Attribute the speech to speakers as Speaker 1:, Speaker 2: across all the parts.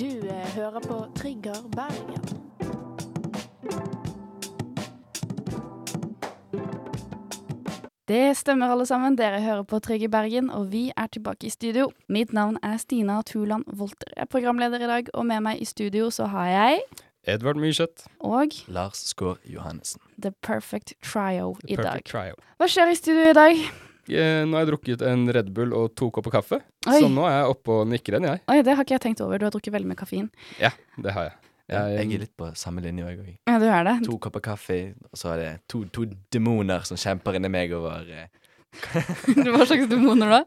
Speaker 1: eh, hører på Trigger Bergen. Det stemmer, alle sammen. Dere hører på Trygge Bergen, og vi er tilbake i studio. Mitt navn er Stina Tuland Wolter. Jeg er programleder i dag, og med meg i studio så har jeg
Speaker 2: Edvard Myrseth.
Speaker 1: og
Speaker 3: Lars Skaar Johannessen.
Speaker 1: The Perfect Trio i dag.
Speaker 2: Perfect trio.
Speaker 1: Hva skjer i studio i dag?
Speaker 2: Eh, Nå har jeg drukket en Red Bull og to kopper kaffe,
Speaker 1: Oi.
Speaker 2: så nå er jeg oppe og nikker igjen, jeg.
Speaker 1: Oi, det har ikke jeg tenkt over. Du har drukket veldig mye kaffein.
Speaker 2: Ja, det har jeg.
Speaker 3: Jeg er
Speaker 2: Jeg,
Speaker 3: litt på samme linje, jeg òg.
Speaker 1: Ja, du er det.
Speaker 3: To kopper kaffe, og så er det to, to demoner som kjemper inni meg over eh,
Speaker 1: Hva slags demoner da?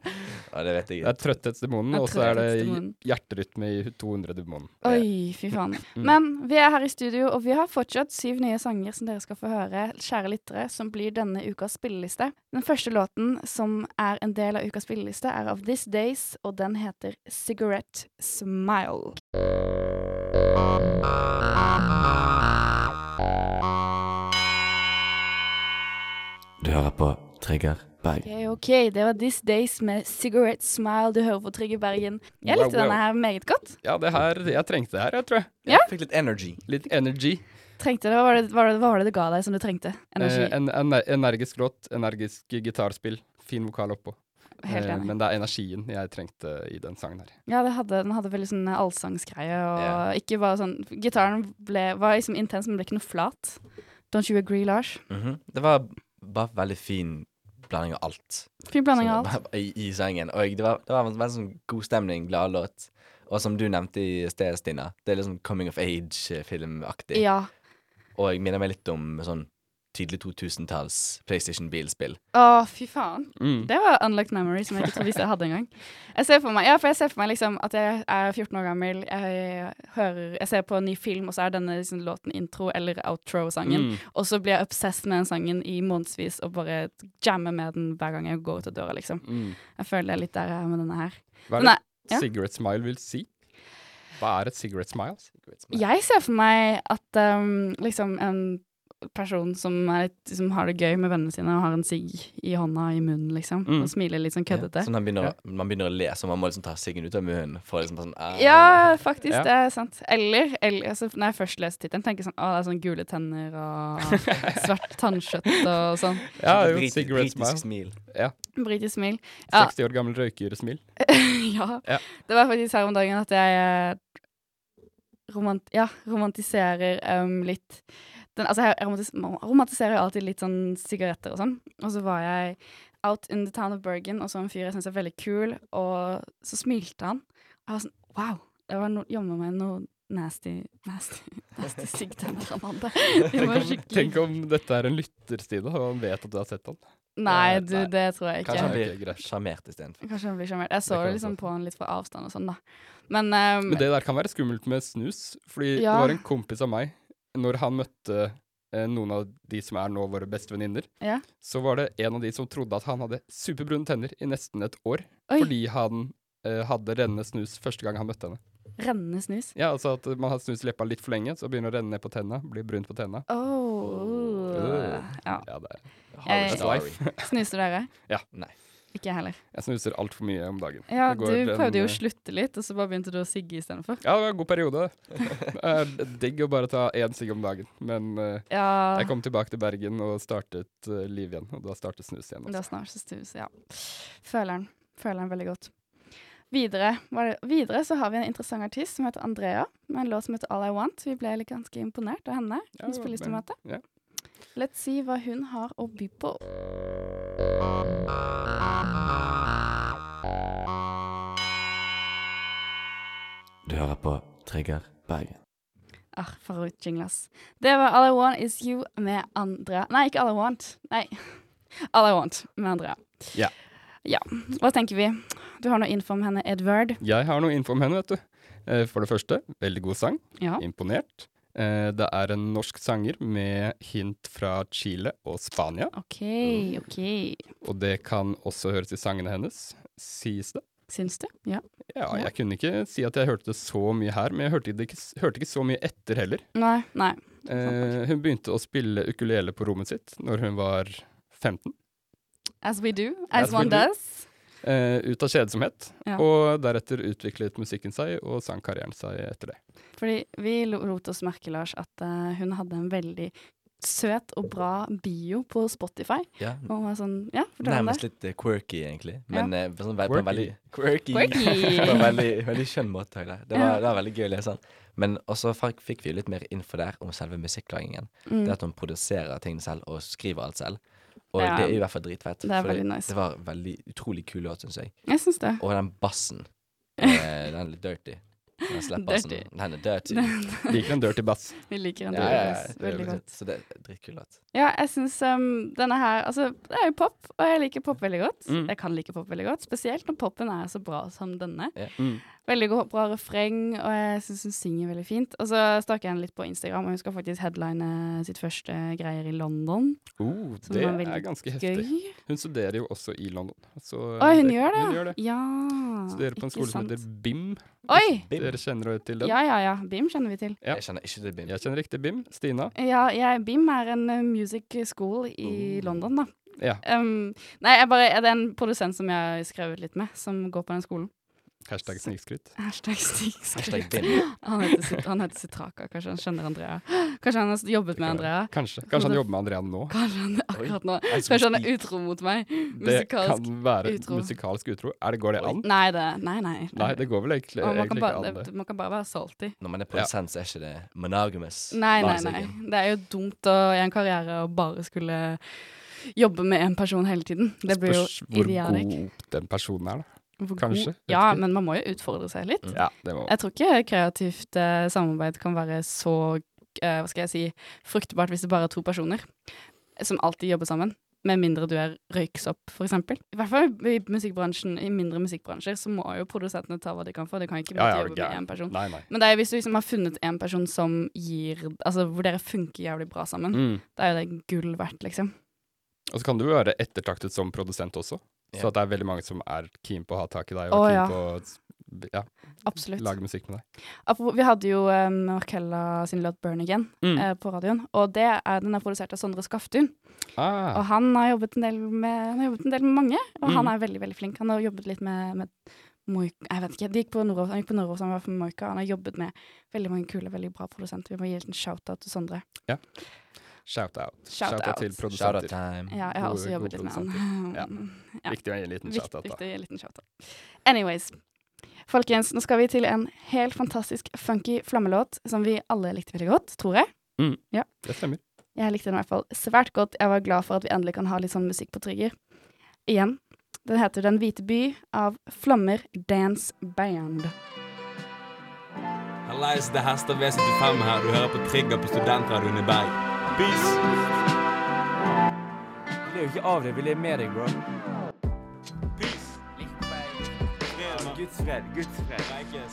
Speaker 3: Ja, det vet jeg
Speaker 2: det er
Speaker 3: ikke.
Speaker 2: trøtthetsdemonen,
Speaker 1: Jeg er
Speaker 2: og så er det
Speaker 1: trøtthetsdemonen.
Speaker 2: hjerterytme i 200-demonen.
Speaker 1: Oi, fy faen.
Speaker 2: Mm.
Speaker 1: Men vi er her i studio, og vi har fortsatt syv nye sanger som dere skal få høre, kjære lyttere, som blir denne ukas spilleliste. Den første låten som er en del av ukas spilleliste, er av This Days, og den heter Cigarette Smile.
Speaker 3: Du hører på Trigger Berg.
Speaker 1: Ok, ok, det var This Days med Cigarette Smile, du hører på Trygge Bergen. Jeg
Speaker 2: Wow,
Speaker 1: likte
Speaker 2: wow.
Speaker 1: denne her meget godt.
Speaker 2: Ja, det her Jeg trengte det her, jeg tror jeg.
Speaker 1: Ja.
Speaker 3: Jeg fikk litt energy.
Speaker 2: Litt energy.
Speaker 1: Trengte det, hva var det, hva var det, hva var det det ga deg som du trengte? Energi.
Speaker 2: Eh, en, en, energisk låt, energisk gitarspill, fin vokal oppå.
Speaker 1: Helt
Speaker 2: Eh,
Speaker 1: enig.
Speaker 2: Men det er energien jeg trengte i den sangen her.
Speaker 1: Ja, det hadde, den hadde veldig sånn allsangsgreie, og
Speaker 3: Ja.
Speaker 1: ikke bare sånn Gitaren ble, var liksom intens, men ble ikke noe flat. Don't you agree, Lars?
Speaker 3: Mhm. Det var bare veldig fin blanding av alt.
Speaker 1: Fin blanding av
Speaker 3: Sånn,
Speaker 1: alt.
Speaker 3: I, I sangen. Og jeg, det var, det var en veldig sånn god stemning, glad låt. Og som du nevnte i sted, Stina, det er liksom coming of age-filmaktig.
Speaker 1: Ja.
Speaker 3: Og jeg minner meg litt om sånn tidlig 2000-talls PlayStation-bilspill.
Speaker 1: Å, fy faen.
Speaker 2: Mm.
Speaker 1: Det var unlocked memory som jeg ikke trodde jeg hadde engang. Jeg ser for meg, ja, for jeg ser for meg liksom at jeg er 14 år gammel, jeg, hører, jeg ser på en ny film, og så er denne liksom, låten intro- eller outro-sangen.
Speaker 2: Mm.
Speaker 1: Og så blir jeg obsessed med den sangen i månedsvis og bare jammer med den hver gang jeg går ut av døra, liksom.
Speaker 2: Mm.
Speaker 1: Jeg føler jeg er litt der jeg er med denne her.
Speaker 2: Hva er
Speaker 1: Den
Speaker 2: det
Speaker 1: er- ja.
Speaker 2: cigarette smile vil si? Hva er et cigarette smile?
Speaker 1: Jeg ser for meg at um, liksom en person som, er litt, som har det gøy med vennene sine og har en sigg i hånda i munnen, liksom,
Speaker 2: Mm.
Speaker 1: og smiler litt sånn
Speaker 3: Ja,
Speaker 1: køddete.
Speaker 3: sånn man begynner, å- man begynner å le, så man må liksom ta siggen ut av munnen. For liksom bare sånn ah.
Speaker 1: Ja, faktisk,
Speaker 2: Ja.
Speaker 1: det er sant. Eller, eller altså, når jeg først leser tittelen, tenker jeg sånn Å, det er sånn gule tenner og svart tannkjøtt og sånn.
Speaker 2: Ja, jo,
Speaker 3: Brit-
Speaker 2: cigarette smile.
Speaker 3: britisk smil.
Speaker 1: Britisk smil. Ja.
Speaker 2: 60 år gammel røykersmil.
Speaker 1: ja.
Speaker 2: Ja.
Speaker 1: Det var faktisk her om dagen at jeg eh, romant ja, romantiserer em, litt den, Altså, jeg romantis man romantiserer jo alltid litt sånn sigaretter og sånn. Og så var jeg out in the town of Bergen og så en fyr jeg syns er veldig kul, og så smilte han. Og jeg var sånn Wow! Det var no jammen meg noe nasty, nasty, nasty sigtenner han hadde. De var
Speaker 2: Tenk om, tenk
Speaker 1: skikkelig
Speaker 2: om dette er en lytter, Stine, og han vet at du har sett han.
Speaker 1: Mm. Nei, du, det tror jeg ikke.
Speaker 3: Kanskje han
Speaker 2: Ok,
Speaker 3: sånn blir
Speaker 2: greit.
Speaker 3: sjarmert istedenfor.
Speaker 1: Kanskje han blir sjarmert. Jeg så
Speaker 2: kan
Speaker 1: det
Speaker 2: godt
Speaker 1: liksom
Speaker 2: være.
Speaker 1: på han litt fra avstand og sånn, da. Men, ehm,
Speaker 2: Men det der kan være skummelt med snus, fordi
Speaker 1: Ja.
Speaker 2: det var en kompis av meg, når han møtte eh, noen av de som er nå våre beste venninner,
Speaker 1: Ja.
Speaker 2: så var det en av de som trodde at han hadde superbrune tenner i nesten et år,
Speaker 1: Oi.
Speaker 2: fordi han eh, hadde rennende snus første gang han møtte henne.
Speaker 1: rennende snus.
Speaker 2: Ja, altså at man har snus i leppa litt for lenge, så begynner det å renne ned på tenna, blir brunt på tenna.
Speaker 1: Oh.
Speaker 2: Øh.
Speaker 1: Ja.
Speaker 2: Ja, det er
Speaker 1: Jeg-
Speaker 3: Harry
Speaker 2: That's
Speaker 3: Story.
Speaker 2: life.
Speaker 1: Snuser dere?
Speaker 2: Ja.
Speaker 3: Nei.
Speaker 1: Ikke jeg heller.
Speaker 2: Jeg snuser altfor mye om dagen.
Speaker 1: Ja,
Speaker 2: Det
Speaker 1: du
Speaker 2: går en,
Speaker 1: prøvde jo
Speaker 2: eh,
Speaker 1: å slutte litt, og så bare begynte du å sigge istedenfor.
Speaker 2: Ja, det var en god periode. Det er digg å bare ta én sigg om dagen, men eh,
Speaker 1: Ja,
Speaker 2: Jeg kom tilbake til Bergen og startet eh, liv igjen, og da startet snus igjen. altså.
Speaker 1: det
Speaker 2: Også.
Speaker 1: er snart så snus, ja. Føler den. Føler den veldig godt. Videre, var det, videre så har vi en interessant artist som heter Andrea, med en låt som heter All I Want. Vi ble litt ganske imponert av henne.
Speaker 2: Ja,
Speaker 1: Hun spiller
Speaker 2: men-
Speaker 1: instrumentet.
Speaker 2: ja.
Speaker 1: Let's see hva hun har å by på.
Speaker 3: Du hører på Trigger Bergen.
Speaker 1: Ah, for et jingle, ass. Det var All I Want Is You med Andrea. Nei, ikke All I Want. Nei. All I Want med Andrea.
Speaker 2: Ja.
Speaker 1: Ja. Hva tenker vi? Du har noe info om henne, Edward.
Speaker 2: Jeg har noe info om henne, vet du. Eh, For det første, veldig god sang.
Speaker 1: Ja.
Speaker 2: Imponert. Eh, Det er en norsk sanger med hint fra Chile og Spania,
Speaker 1: OK, OK.
Speaker 2: og det kan også høres i sangene hennes, sies det.
Speaker 1: Syns du? Ja.
Speaker 2: Ja,
Speaker 1: Ja.
Speaker 2: jeg kunne ikke si at jeg hørte det så mye her, men jeg hørte det ikke, hørte ikke så mye etter heller.
Speaker 1: Nei. Nei.
Speaker 2: Eh, hun begynte å spille ukulele på rommet sitt når hun var 15.
Speaker 1: As we do, as,
Speaker 2: As we
Speaker 1: one
Speaker 2: do.
Speaker 1: does.
Speaker 2: eh, ut av kjedsomhet.
Speaker 1: Ja.
Speaker 2: Og deretter utviklet musikken seg og sangkarrieren seg etter det.
Speaker 1: Fordi vi lo- lot oss merke, Lars, at eh, hun hadde en veldig søt og bra bio på Spotify.
Speaker 3: Ja,
Speaker 1: Og var sånn, ja, fortell om det.
Speaker 3: Nærmest litt eh, quirky, egentlig. Men eh, sånn, ve- på en veldig
Speaker 2: Quirky.
Speaker 3: Quirky.
Speaker 1: Quirky.
Speaker 3: på en veldig, veldig skjønn måte. takk deg. Det
Speaker 1: Ja.
Speaker 3: var, det var veldig gøy å lese den. Men også fa- fikk vi jo litt mer info der om selve musikklagingen.
Speaker 1: Mm.
Speaker 3: Det at hun produserer tingene selv og skriver alt selv. Og
Speaker 1: Ja.
Speaker 3: det er i hvert fall dritfett.
Speaker 1: Det er
Speaker 3: fordi
Speaker 1: veldig nice.
Speaker 3: det var veldig utrolig kul låt, syns jeg.
Speaker 1: Jeg syns det.
Speaker 3: Og den bassen. eh, den er litt dirty. Den slappbassen.
Speaker 1: Dirty.
Speaker 3: Den er dirty.
Speaker 2: Liker en dirty bass.
Speaker 1: Vi liker den
Speaker 3: Ja, ja, ja,
Speaker 1: delvis
Speaker 3: det er
Speaker 1: veldig
Speaker 3: veldig-
Speaker 1: godt.
Speaker 3: Så det er dritkul låt.
Speaker 1: Ja, jeg syns um, denne her Altså, det er jo pop, og jeg liker pop veldig godt.
Speaker 2: Mm.
Speaker 1: Jeg kan like pop veldig godt, spesielt når popen er så bra som denne.
Speaker 3: Ja.
Speaker 2: Mm.
Speaker 1: Veldig go- bra refreng, og jeg syns hun synger veldig fint. Og så stakk jeg henne litt på Instagram, og hun skal faktisk headline eh, sitt første greier i London.
Speaker 2: Oh,
Speaker 1: Som
Speaker 2: det
Speaker 1: var veldig
Speaker 2: er ganske heftig.
Speaker 1: Gøy.
Speaker 2: Hun studerer jo også i London. Så
Speaker 1: Å, hun gjør det,
Speaker 2: Hun
Speaker 1: ja.
Speaker 2: gjør det.
Speaker 1: ja.
Speaker 2: Studerer på en
Speaker 1: ikke
Speaker 2: skole som
Speaker 1: sant.
Speaker 2: heter BIM.
Speaker 1: Oi!
Speaker 3: Bim.
Speaker 2: Dere kjenner jo til den?
Speaker 1: Ja, ja, ja. BIM kjenner vi til.
Speaker 2: Ja.
Speaker 3: Jeg kjenner ikke til Bim.
Speaker 2: Jeg kjenner riktig BIM. Stina.
Speaker 1: Ja, jeg, BIM er en eh, music school i
Speaker 3: Oh.
Speaker 1: London, da.
Speaker 2: Ja,
Speaker 1: Um, nei, jeg bare, det er en produsent som jeg har skrevet litt med, som går på den skolen.
Speaker 2: hashtag snikskryt.
Speaker 1: Hashtag
Speaker 3: Hashtag
Speaker 1: snikskritt.
Speaker 3: Bim.
Speaker 1: Han heter, Sit- han heter Sitraka, kanskje han skjønner Andrea. Kanskje han har s- jobbet med Andrea.
Speaker 2: Kanskje. Kanskje han jobber med Andrea nå.
Speaker 1: Kanskje han akkurat nå
Speaker 3: As we
Speaker 1: Kanskje han er
Speaker 3: speak.
Speaker 1: utro mot meg.
Speaker 2: Det kan
Speaker 1: Musikalsk
Speaker 2: være
Speaker 1: utro.
Speaker 2: musikalsk utro. Er det, går det an?
Speaker 1: Nei, det, nei, nei.
Speaker 2: Nei, det går vel egentlig,
Speaker 1: Og man, kan
Speaker 2: egentlig ikke
Speaker 1: bare,
Speaker 2: an.
Speaker 1: det,
Speaker 2: Det.
Speaker 1: man kan bare være salty.
Speaker 3: Når man er produsent, så er ikke det monogamous.
Speaker 1: Nei, nei,
Speaker 3: musikken.
Speaker 1: nei. Det er jo dumt å, i en karriere å bare skulle jobbe med en person hele tiden. Det blir jo
Speaker 2: Spørs hvor
Speaker 1: idealisk.
Speaker 2: god den personen er, da.
Speaker 1: Hvor
Speaker 2: kanskje,
Speaker 1: god-
Speaker 2: vet
Speaker 1: Ja,
Speaker 2: ikke.
Speaker 1: men man må jo utfordre seg litt.
Speaker 2: Ja, det må
Speaker 1: Jeg tror ikke kreativt eh, samarbeid kan være så eh, hva skal jeg si, fruktbart hvis det bare er to personer som alltid jobber sammen. Med mindre du er røyksopp, f.eks. I hvert fall i musikkbransjen, i mindre musikkbransjer så må jo produsentene ta hva de kan få. De kan ikke
Speaker 2: Ja, ja,
Speaker 1: jobbe med
Speaker 2: gæren.
Speaker 1: én person.
Speaker 2: Nei, nei.
Speaker 1: Men det er hvis du liksom har funnet en person som gir Altså hvor dere funker jævlig bra sammen,
Speaker 2: Mm.
Speaker 1: da er jo det gull verdt, liksom.
Speaker 2: Og så kan du jo være ettertraktet som produsent også.
Speaker 3: Ja.
Speaker 2: Så at det er veldig mange som er keen på å ha tak i deg,
Speaker 1: Å,
Speaker 2: og keen
Speaker 1: ja.
Speaker 2: på å s- b- ja,
Speaker 1: Absolutt.
Speaker 2: lage musikk med deg.
Speaker 1: Apropos- Vi hadde jo eh, Marcella sin låt 'Burn Again'
Speaker 2: Mm.
Speaker 1: eh, på radioen, og det er, den er produsert av Sondre Skaftun.
Speaker 2: Ah,
Speaker 1: Og han har jobbet en del med, han har jobbet en del med mange, og
Speaker 2: Mhm.
Speaker 1: han er veldig veldig flink. Han har jobbet litt med, med Moik- Jeg vet ikke, de gikk på Nordås, Han gikk på Nordås, han var fra Moika. Han har jobbet med veldig mange kule, veldig bra produsenter. Vi må gi en shout-out til Sondre.
Speaker 2: shout-out.
Speaker 1: Shout
Speaker 2: Shout-out
Speaker 1: out.
Speaker 2: til
Speaker 3: Shout out
Speaker 2: produsenter.
Speaker 3: time.
Speaker 1: Ja, jeg har
Speaker 2: Gode-
Speaker 1: også jobbet
Speaker 2: gode
Speaker 1: litt med han.
Speaker 2: Ja.
Speaker 1: Mm, ja.
Speaker 2: Viktig å gi en liten
Speaker 1: Vikt-
Speaker 2: shout-out, da.
Speaker 1: Viktig liten shout-out. Anyways. Folkens, nå skal vi til en helt fantastisk funky flammelåt som vi alle likte veldig godt, tror jeg.
Speaker 2: Det stemmer.
Speaker 1: Jeg likte den i hvert fall svært godt. Jeg var glad for at vi endelig kan ha litt sånn musikk på trigger. Igjen. Den heter Den hvite by av Flammer Dance Band.
Speaker 4: Hallais, det er Hester V75 her. Du hører på Trigger på Studentradioen i Berg. Peace!
Speaker 5: Jeg vil jo ikke av deg, vil jeg med deg, bro.
Speaker 4: Peace!
Speaker 5: Guds fred, Guds fred.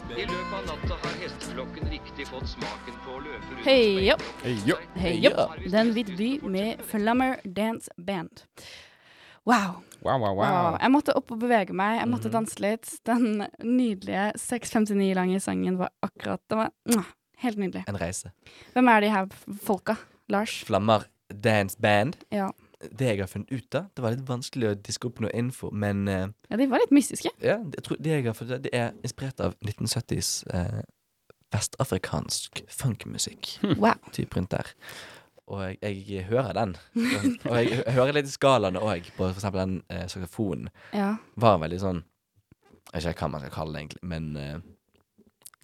Speaker 6: I løpet av natta har hesteflokken riktig fått smaken på å løpe rundt
Speaker 1: Hei, jopp.
Speaker 2: Hei, jo.
Speaker 1: Hei, jopp. Den hvite by med Flammer Dance Band. Wow.
Speaker 2: Wow, wow,
Speaker 1: wow.
Speaker 2: wow.
Speaker 1: Jeg måtte opp og bevege meg. Jeg
Speaker 3: Mhm.
Speaker 1: måtte danse litt. Den nydelige 6.59 lange sangen var akkurat Det var mwah, helt nydelig.
Speaker 3: En reise.
Speaker 1: Hvem er de her folka? Lars?
Speaker 3: Flammer Dance Band.
Speaker 1: Ja.
Speaker 3: Det jeg har funnet ut av Det var litt vanskelig å diske opp noe info, men eh,
Speaker 1: ja de var litt mystiske.
Speaker 3: ja, jeg tror det jeg har funnet ut av, det er inspirert av 1970s eh, vestafrikansk funkmusikk.
Speaker 1: Wow.
Speaker 3: Typ rundt der. Og jeg, jeg hører den. Og jeg, hø- hører litt i skalaene òg, på for eksempel den eh, saksofonen.
Speaker 1: Ja.
Speaker 3: Var veldig sånn Jeg vet ikke hva man skal kalle det, egentlig, men eh,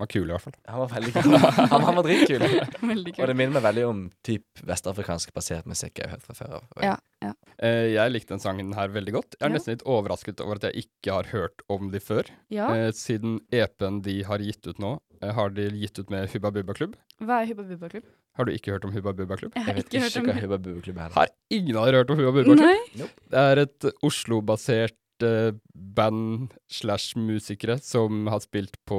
Speaker 2: Var kul, i hvert fall.
Speaker 3: han var veldig kul. Han, han var dritkul.
Speaker 1: Veldig
Speaker 3: Og
Speaker 1: kult.
Speaker 3: det minner meg veldig om typ vestafrikansk basert musikk jeg har hørt fra før av.
Speaker 1: Ja, ja.
Speaker 2: Eh, jeg likte den sangen her veldig godt. Jeg er
Speaker 1: Ja.
Speaker 2: nesten litt overrasket over at jeg ikke har hørt om de før.
Speaker 1: ja.
Speaker 2: Eh, siden EP-en de har gitt ut nå, eh, har de gitt ut med Hubba Bubba Klubb.
Speaker 1: Hva er Hubba Bubba Klubb?
Speaker 2: Har du ikke hørt om Hubba Bubba Klubb?
Speaker 1: Jeg
Speaker 3: Jeg
Speaker 1: har
Speaker 3: vet
Speaker 1: ikke hørt om
Speaker 3: hva Hubba Bubba Klubb er.
Speaker 2: Har ingen av dere hørt om Hubba Bubba Klubb?
Speaker 1: Nei.
Speaker 2: Det er et Oslo-basert eh, band slash musikere som har spilt på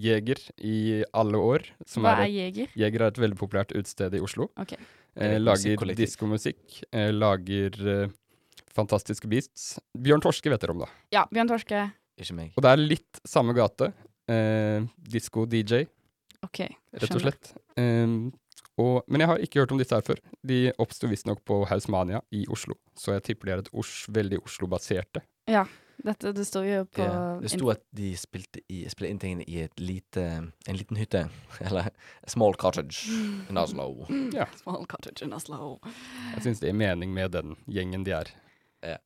Speaker 2: Jeger i alle år. Som
Speaker 1: Hva
Speaker 2: er
Speaker 1: er
Speaker 2: et,
Speaker 1: jeger?
Speaker 2: Jeger er et veldig populært utested i Oslo.
Speaker 1: Ok.
Speaker 2: Eh,
Speaker 3: Et
Speaker 2: lager
Speaker 3: musikkollektiv.
Speaker 2: diskomusikk. Eh, lager eh, fantastiske beats. Bjørn Torske vet dere om, da.
Speaker 1: Ja, Bjørn Torske.
Speaker 3: Ikke meg.
Speaker 2: Og det er litt samme gate. Eh, Disko-DJ,
Speaker 1: OK.
Speaker 2: rett og
Speaker 1: skjønner.
Speaker 2: slett. Eh, og, men jeg har ikke hørt om disse her før. De oppsto visstnok på Hausmania i Oslo, så jeg tipper de er et Os veldig Oslo-baserte.
Speaker 1: Dette, det står jo på
Speaker 3: Ja, det sto at de spilte, i, spilte inn tingene i et lite, en liten hytte. Eller a small cottage
Speaker 1: Mm.
Speaker 3: in Oslo.
Speaker 1: Small cottage in Oslo.
Speaker 2: Jeg syns det er mening med den gjengen de er.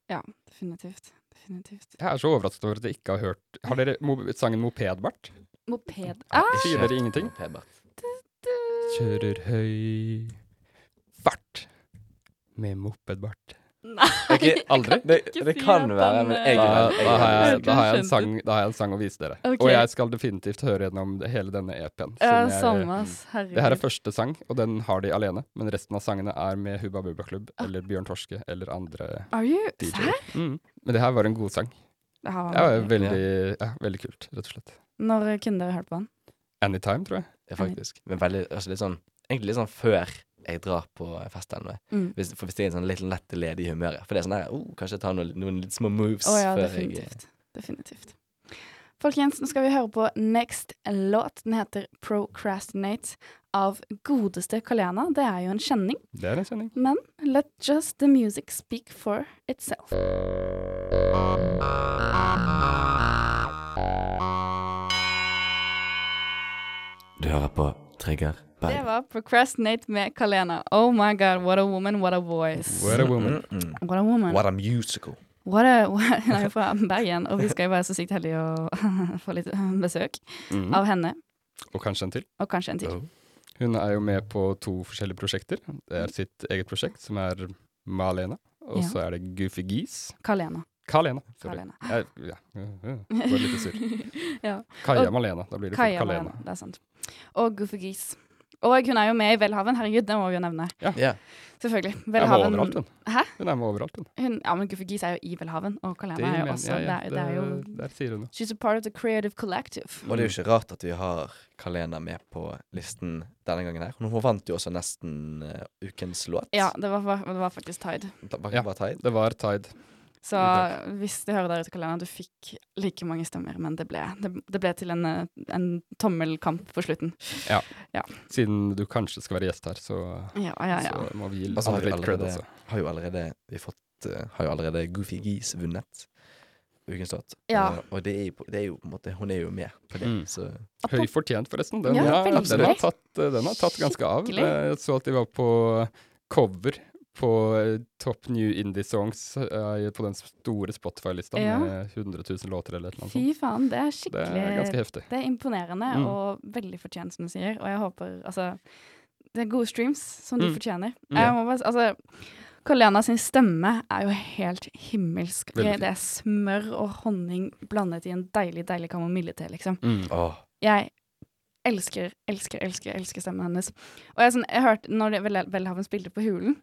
Speaker 1: Ja, definitivt. Definitivt.
Speaker 2: Jeg er så overrasket over at jeg ikke har hørt Har dere mo sangen Mopedbart?
Speaker 1: Moped ah,
Speaker 2: Sier dere ingenting?
Speaker 3: Pebert.
Speaker 2: Kjører høy fart med mopedbart.
Speaker 1: Nei!
Speaker 3: Ok,
Speaker 2: Aldri?
Speaker 3: Det,
Speaker 1: ikke
Speaker 3: det
Speaker 1: si
Speaker 3: kan
Speaker 1: at
Speaker 3: være,
Speaker 1: den,
Speaker 3: men
Speaker 1: eh,
Speaker 3: jeg
Speaker 2: Da,
Speaker 3: er
Speaker 2: da, har jeg, da, har jeg en
Speaker 1: Skjønte.
Speaker 2: sang, da har jeg en sang å vise dere.
Speaker 1: Ok.
Speaker 2: Og jeg skal definitivt høre gjennom det- hele denne EP-en.
Speaker 1: Ja, sånn.
Speaker 2: siden jeg- mm.
Speaker 1: samme, ass. Herregud.
Speaker 2: Det her er første sang, og den har de alene. Men resten av sangene er med Hubba Bubba Klubb eller Bjørn Torske eller andre
Speaker 1: Are you
Speaker 2: DJ-er.
Speaker 1: Ah. Serr?
Speaker 2: Mm. Men det her var en god sang.
Speaker 1: Det her var
Speaker 2: Ja,
Speaker 1: veldig-
Speaker 2: veldig, ja, veldig kult, rett og slett.
Speaker 1: Når kunne dere hørt på den?
Speaker 2: Anytime, tror jeg.
Speaker 3: Ja, faktisk. Men veldig, altså litt sånn, egentlig litt sånn før jeg drar på fest eller noe.
Speaker 1: Mm.
Speaker 3: Hvis, for hvis jeg er sånn litt lett ledig i humøret. For det er sånn der, oh, kanskje jeg tar noen, noen litt små moves
Speaker 1: Å ja,
Speaker 3: før jeg
Speaker 1: definitivt. Definitivt. Folkens, nå skal vi høre på next låt. Den heter 'Procrastinate' av godeste Kalena. Det er jo en kjenning,
Speaker 2: Det er en sending.
Speaker 1: men let just the music speak for itself.
Speaker 3: Du hører på Trigger
Speaker 1: Det var 'Procrastinate' med Kalena. Oh my god, what a woman, what a voice.
Speaker 2: Where a woman.
Speaker 1: What a woman.
Speaker 3: Mm, What a musical.
Speaker 1: What a, what, hun er jo fra Bergen, og vi skal jo være så sykt heldige å få litt eh, besøk
Speaker 2: Mhm.
Speaker 1: av henne.
Speaker 2: Og kanskje en til.
Speaker 1: Og kanskje en til.
Speaker 2: Hun er jo med på to forskjellige prosjekter. Det er sitt eget prosjekt, som er Malena. Og
Speaker 1: Ja.
Speaker 2: så er det Goofy Geese.
Speaker 1: Kalena.
Speaker 2: Kalena. Sorry.
Speaker 1: Kalena.
Speaker 2: Jeg, ja. Jeg ble litt sur.
Speaker 1: Ja.
Speaker 2: Kaja
Speaker 1: Og-
Speaker 2: Malena. Da blir det fort
Speaker 1: Kaja
Speaker 2: Kalena.
Speaker 1: Malena. Det er sant. Og Goofy Geese. Og hun er jo med i Welhaven. Herregud, det må vi jo nevne.
Speaker 3: Ja.
Speaker 1: Selvfølgelig.
Speaker 2: Hun er med
Speaker 1: Welhaven
Speaker 2: overalt, hun.
Speaker 1: Hæ?
Speaker 2: Hun er med overalt, hun.
Speaker 1: Hun, ja, men Goofy Geese er jo i Welhaven, og Kalena er
Speaker 2: mener-
Speaker 1: jo også
Speaker 2: ja, ja,
Speaker 1: Det, er, det er jo
Speaker 2: det- Der sier hun det.
Speaker 1: She's a part of the creative collective.
Speaker 3: Og det er jo ikke rart at vi har Kalena med på listen denne gangen her. Hun vant jo også nesten eh, ukens låt.
Speaker 1: Ja, det var, det var faktisk Tide.
Speaker 3: Da- Bare,
Speaker 2: Ja.
Speaker 3: bare ta i.
Speaker 2: Det var Tide.
Speaker 1: Så hvis du hører der ute, Kalena, du fikk like mange stemmer, men det ble, det, det ble til en, eh, en tommelkamp på slutten.
Speaker 2: Siden du kanskje skal være gjest her, så,
Speaker 1: Ja, ja, ja.
Speaker 2: så må vi gi
Speaker 3: Altså, har
Speaker 2: andre
Speaker 3: vi
Speaker 2: litt cred,
Speaker 3: allerede-
Speaker 2: altså.
Speaker 3: Har jo allerede vi fått eh, Har jo allerede Goofy Geese vunnet ukens låt.
Speaker 1: Ja.
Speaker 3: Og, og det, er jo, på- det er jo på en måte Hun er jo med på det,
Speaker 2: Mm.
Speaker 3: så
Speaker 2: Høy fortjent, forresten. Den,
Speaker 1: Ja,
Speaker 2: har,
Speaker 1: veldig.
Speaker 2: den, har tatt, eh, den har tatt ganske av. Eh,
Speaker 1: Skikkelig.
Speaker 2: Jeg så at de var på cover på eh, Top New Indie Songs eh, på den store Spotify-lista
Speaker 1: Ja.
Speaker 2: med 100 000 låter eller et eller annet
Speaker 1: Fy
Speaker 2: sånt.
Speaker 1: faen, altså. det er
Speaker 2: Det er
Speaker 1: skikkelig
Speaker 2: ganske heftig.
Speaker 1: Det er imponerende
Speaker 2: Mm.
Speaker 1: og veldig fortjent, som du sier. Og jeg håper Altså, det er gode streams som de
Speaker 2: Mm.
Speaker 1: fortjener.
Speaker 2: Mm.
Speaker 1: Jeg må bare, s- altså, Kalena sin stemme er jo helt himmelsk.
Speaker 2: Veldig.
Speaker 1: Det er smør og honning blandet i en deilig, deilig kamomillete, liksom.
Speaker 2: Mm.
Speaker 3: Åh,
Speaker 1: Jeg elsker, elsker, elsker elsker stemmen hennes. Og jeg, sånn, jeg hørte, når det- Vel- Welhaven spilte på Hulen,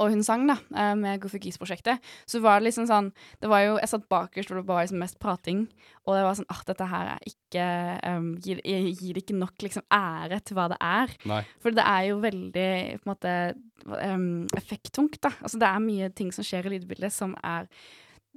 Speaker 1: og hun sang da, eh, med Goofy Geese-prosjektet, så var det liksom sånn det var jo, Jeg satt bakerst, og det var liksom mest prating. Og det var sånn at dette her er ikke um, gir, jeg gir det ikke nok liksom ære til hva det er.
Speaker 2: Nei.
Speaker 1: For det er jo veldig på en måte um, effekttungt, da. Altså det er mye ting som skjer i lydbildet som er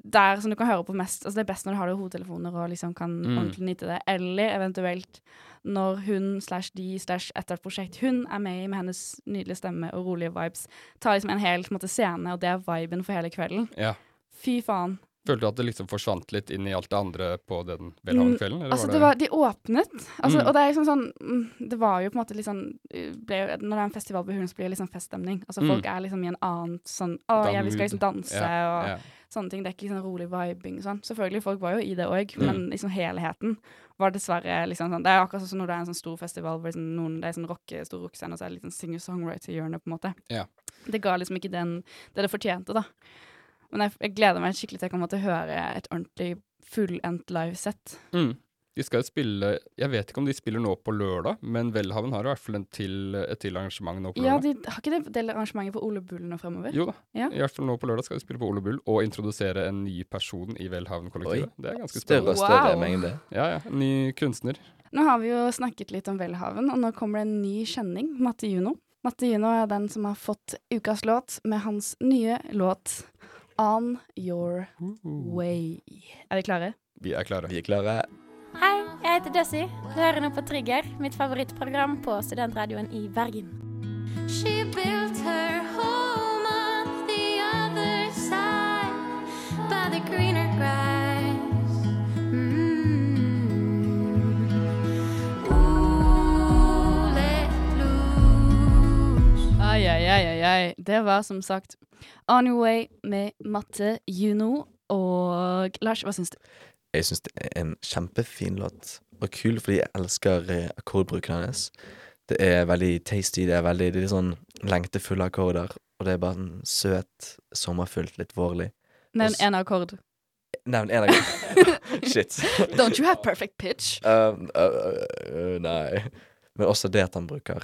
Speaker 1: der som du kan høre på mest Altså det er best når du har det i hodetelefoner og liksom kan
Speaker 2: Mm.
Speaker 1: ordentlig nyte det. Eller eventuelt når hun slash de slash etter et prosjekt hun er med i med hennes nydelige stemme og rolige vibes, tar liksom en hel på en måte, scene, og det er viben for hele kvelden.
Speaker 2: Ja.
Speaker 1: Fy faen.
Speaker 2: Følte du at det liksom forsvant litt inn i alt det andre på den velhavenkvelden? eller
Speaker 1: Mm. Altså, det var, de åpnet, altså,
Speaker 2: Mm.
Speaker 1: og det er liksom sånn mm, Det var jo på en måte litt sånn eh, ble, jo- Når det er en festival på Hulen, så blir det liksom feststemning. Altså,
Speaker 2: Mm.
Speaker 1: Folk er liksom i en annen sånn Å,
Speaker 2: Dan
Speaker 1: jeg vi skal
Speaker 2: mood.
Speaker 1: liksom danse og
Speaker 2: ja.
Speaker 1: sånne ting. Det er ikke liksom rolig vibing og sånn. Selvfølgelig, folk var jo i det òg,
Speaker 2: Mm.
Speaker 1: men liksom helheten var dessverre liksom sånn Det er akkurat sånn som når det er en sånn stor festival hvor liksom noen, det er sånn rocke, stor rockescene, og så er det litt sånn singer-songwriter-hjørne, på en måte.
Speaker 2: Ja.
Speaker 1: Det ga liksom ikke den det det fortjente, da. Men jeg, jeg gleder meg skikkelig til jeg kommer til å høre et ordentlig fullendt livesett.
Speaker 2: Mm. De skal jo spille Jeg vet ikke om de spiller nå på lørdag, men Welhaven har i hvert fall en til, et til arrangement nå på
Speaker 1: Ja,
Speaker 2: lørdag.
Speaker 1: de, har ikke det del arrangementet på Ole Bull nå fremover?
Speaker 2: Jo da.
Speaker 1: Ja.
Speaker 2: I hvert fall nå på lørdag skal vi spille på Ole Bull og introdusere en ny person i Welhaven-kollektivet. Det er ganske
Speaker 3: større
Speaker 2: spennende.
Speaker 3: og større
Speaker 1: Wow.
Speaker 3: mengde.
Speaker 2: Ja, ja. En ny kunstner.
Speaker 1: Nå har vi jo snakket litt om Welhaven, og nå kommer det en ny kjenning, Matte Juno. Matte Juno er den som har fått ukas låt med hans nye låt On Your Way. Er vi klare?
Speaker 2: Vi er klare.
Speaker 3: Vi er klare.
Speaker 7: Hei, jeg heter Døssi. Du hører nå på Trigger, mitt favorittprogram på studentradioen i Bergen.
Speaker 8: She built her home on the other side by the greener grass. Mm-hmm.
Speaker 1: Ai, ai, ai, ai, ai. Det var som sagt On Your Way med Matte Juno. Og Lars, hva syns du?
Speaker 3: Jeg syns det er en kjempefin låt, og kul fordi jeg elsker eh, akkordbruken hennes. Det er veldig tasty, det er veldig det er litt sånn lengtefulle akkorder, og det er bare en søt, sommerfullt, litt vårlig.
Speaker 1: Nevn
Speaker 3: Oss-
Speaker 1: én akkord.
Speaker 3: Nevn en av gangene. Shit.
Speaker 1: Don't you have perfect pitch?
Speaker 3: Um, uh, uh, uh, nei. Men også det at han bruker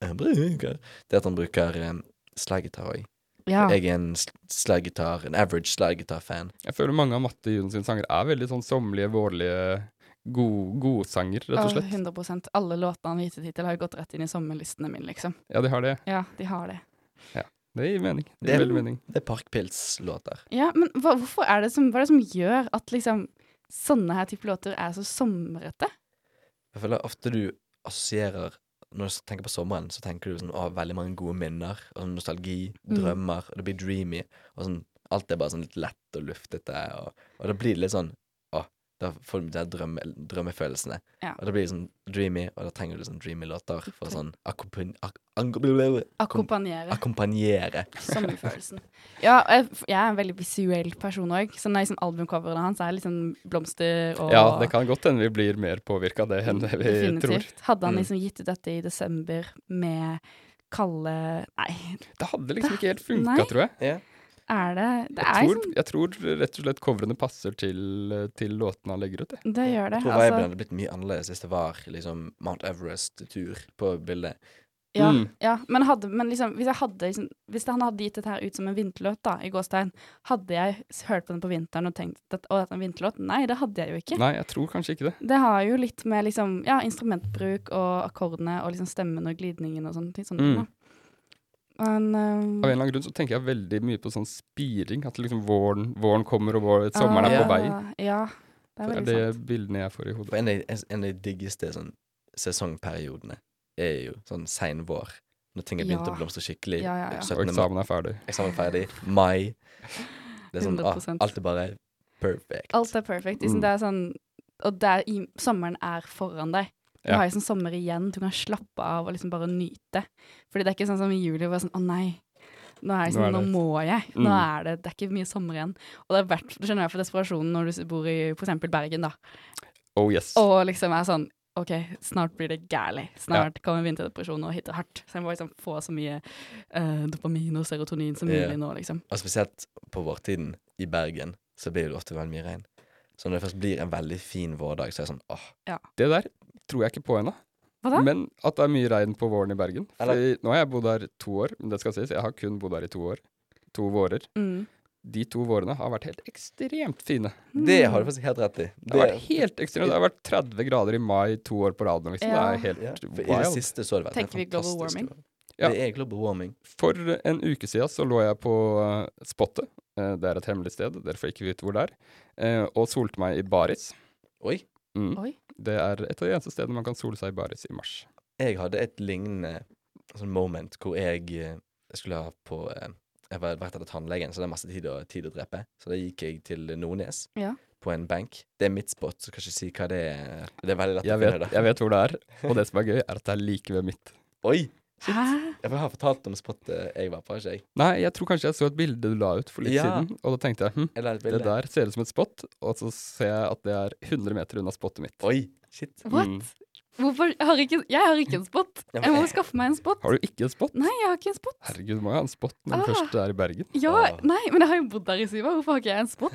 Speaker 3: eh, Bruker Det at han bruker um, slaggitar òg.
Speaker 1: Ja.
Speaker 3: Jeg er en sl- slaggitar, en average slaggitar-fan.
Speaker 2: Jeg føler mange av Matte Jun sine sanger er veldig sånn sommerlige, vårlige, god- godsanger, rett og
Speaker 1: Åh,
Speaker 2: slett.
Speaker 1: 100 Alle låtene han har gitt ut hittil, har jo gått rett inn i sommerlistene mine, liksom.
Speaker 2: Ja, de har det.
Speaker 1: Ja, de har det.
Speaker 2: Det gir mening. Det
Speaker 3: Det
Speaker 2: gir
Speaker 3: er-
Speaker 2: veldig mening.
Speaker 3: Det er parkpilslåter.
Speaker 1: Ja, men hva, hvorfor er det som, hva er det som gjør at liksom sånne her type låter er så somrete?
Speaker 3: Jeg føler ofte du assosierer Når du tenker på sommeren, så tenker du sånn, å, veldig mange gode minner. Og sånn nostalgi,
Speaker 1: Mm.
Speaker 3: drømmer, og det blir dreamy. Og sånn, alt er bare sånn litt lett og luftete. Og, og da blir det litt sånn Å, da får du de der drømme, drømmefølelsene.
Speaker 1: Ja.
Speaker 3: Og da blir det sånn dreamy, og da trenger du sånn dreamy låter for å sånn akkompan- ak- ang-
Speaker 1: Akkompagnere
Speaker 3: Akkompagnere.
Speaker 1: sommerfølelsen. Ja, og jeg, jeg er en veldig visuell person òg, så når liksom albumcoverne hans er liksom blomster og
Speaker 2: Ja, det kan godt hende vi blir mer påvirka av det enn det vi tror.
Speaker 1: Definitivt. Hadde han
Speaker 3: Mm.
Speaker 1: liksom gitt ut dette i desember med kalde Nei,
Speaker 2: Det hadde liksom ikke helt
Speaker 1: Nei.
Speaker 2: funka, tror jeg.
Speaker 1: er det Det er
Speaker 2: Jeg tror,
Speaker 1: liksom
Speaker 2: jeg tror rett og slett coverene passer til, til låtene han legger ut. Jeg.
Speaker 1: Det gjør det.
Speaker 3: Jeg tror
Speaker 1: altså.
Speaker 3: viben hadde blitt mye annerledes hvis det var liksom Mount Everest-tur på bildet.
Speaker 1: Ja,
Speaker 2: Mm.
Speaker 1: ja. Men, hadde, men liksom, hvis, jeg hadde, liksom, hvis han hadde gitt dette her ut som en vinterlåt, da, i gåstein, hadde jeg s- hørt på den på vinteren og tenkt at å, dette er en vinterlåt? Nei, det hadde jeg jo ikke.
Speaker 2: Nei, jeg tror kanskje ikke det.
Speaker 1: Det har jo litt med liksom, ja, instrumentbruk og akkordene og liksom stemmen og glidningen og sånne ting. Sånne ting
Speaker 2: Mm.
Speaker 1: da. Men øhm,
Speaker 2: Av en eller annen grunn så tenker jeg veldig mye på sånn spiring. At liksom våren, våren kommer, og vår, sommeren er
Speaker 1: ah,
Speaker 2: på vei.
Speaker 1: Ja, det
Speaker 2: Det
Speaker 1: er
Speaker 2: er
Speaker 1: veldig
Speaker 2: det
Speaker 1: sant.
Speaker 2: bildene jeg får i hodet.
Speaker 3: For en av, de- en av de diggeste sånn, sesongperiodene er jo sånn sein vår, når ting har begynt
Speaker 1: Ja.
Speaker 3: å blomstre skikkelig.
Speaker 1: Ja, ja, ja.
Speaker 2: Og
Speaker 3: 17. mai,
Speaker 2: eksamen er ferdig.
Speaker 3: eksamen ferdig, mai. Det er sånn, ah,
Speaker 1: 100%.
Speaker 3: alt er bare perfect.
Speaker 1: Alt er perfekt. Liksom,
Speaker 2: Mm.
Speaker 1: Det er sånn Og det er i, sommeren er foran deg. Du
Speaker 2: Ja.
Speaker 1: har liksom sommer igjen. Du kan slappe av og liksom bare nyte. Fordi det er ikke sånn som i juli hvor det er sånn Å nei. Nå, er jeg
Speaker 2: Nå
Speaker 1: sånn,
Speaker 2: er
Speaker 1: nå
Speaker 2: det-
Speaker 1: må jeg. Nå
Speaker 2: Mm.
Speaker 1: er det Det er ikke mye sommer igjen. Og det er verdt Du skjønner jeg for desperasjonen når du s- bor i for eksempel Bergen, da.
Speaker 2: Oh yes.
Speaker 1: Og liksom er sånn OK, snart blir det gærlig. Snart kommer vinterdepresjon og hitter hardt. Så jeg må liksom få så mye eh, dopamin og serotonin som
Speaker 3: Ja.
Speaker 1: mulig nå, liksom.
Speaker 3: Og spesielt på vårtiden i Bergen, så blir det ofte veldig mye regn. Så når det først blir en veldig fin vårdag, så er det sånn, åh,
Speaker 2: Det der tror jeg ikke på ennå.
Speaker 1: Hva da?
Speaker 2: Men at det er mye regn på våren i Bergen.
Speaker 3: Eller-
Speaker 2: Fordi nå har jeg bodd her to år, men det skal sies, jeg har kun bodd her i to år. To vårer.
Speaker 1: Mm.
Speaker 2: De to vårene har vært helt ekstremt fine.
Speaker 3: det
Speaker 1: Hmm.
Speaker 3: har du faktisk helt rett i.
Speaker 2: Det har vært helt ekstremt. Det har vært 30 grader i mai to år på rad nå, liksom.
Speaker 1: Ja.
Speaker 2: Det er helt
Speaker 3: ja, for I det
Speaker 2: wild.
Speaker 3: siste så har det vært en
Speaker 1: Tenker vi global
Speaker 3: fantastisk
Speaker 1: warming?
Speaker 3: vår.
Speaker 2: Ja.
Speaker 3: Det er global warming.
Speaker 2: For en uke siden så lå jeg på eh, Spottet. Eh, Det er et hemmelig sted, dere får ikke vite hvor det er. Eh, Og solte meg i baris.
Speaker 3: Oi,
Speaker 2: Mm.
Speaker 1: Oi.
Speaker 2: Det er et av de eneste stedene man kan sole seg i baris i mars.
Speaker 3: jeg hadde et lignende sånn moment hvor jeg eh, skulle ha på eh, Jeg har vært etter tannlegen, så det er masse tid å, tid å drepe. Så da gikk jeg til Nordnes
Speaker 1: Ja.
Speaker 3: på en benk. Det er mitt spot, så kan jeg ikke si hva det er. Det er veldig lett
Speaker 2: Jeg
Speaker 3: å
Speaker 2: vet,
Speaker 3: finne
Speaker 2: jeg
Speaker 3: det.
Speaker 2: vet hvor det er, og det som er gøy, er at det er like ved mitt.
Speaker 3: Oi!
Speaker 1: Hæ?
Speaker 3: Jeg har fortalt om spotet jeg var på, har ikke jeg?
Speaker 2: Nei, jeg tror kanskje jeg så et bilde du la ut for litt
Speaker 3: Ja.
Speaker 2: siden, og da tenkte jeg hm,
Speaker 3: Jeg la ut
Speaker 2: det
Speaker 3: bilde.
Speaker 2: der ser ut som et spot, og så ser jeg at det er 100 meter unna spottet mitt.
Speaker 3: Oi! Shit.
Speaker 1: What?
Speaker 2: Mm.
Speaker 1: Hvorfor? Jeg har, ikke, jeg har ikke en spot.
Speaker 3: Ja, men
Speaker 1: Jeg må
Speaker 3: jeg-
Speaker 1: skaffe meg en spot.
Speaker 2: Har du ikke et spot?
Speaker 1: Nei, jeg har ikke en spot.
Speaker 2: Herregud, du må jo ha en spot når du
Speaker 1: Ah.
Speaker 2: først er i Bergen.
Speaker 1: Ja,
Speaker 3: Åh.
Speaker 1: nei, men jeg har jo bodd der i syv år. Hvorfor har ikke jeg en spot?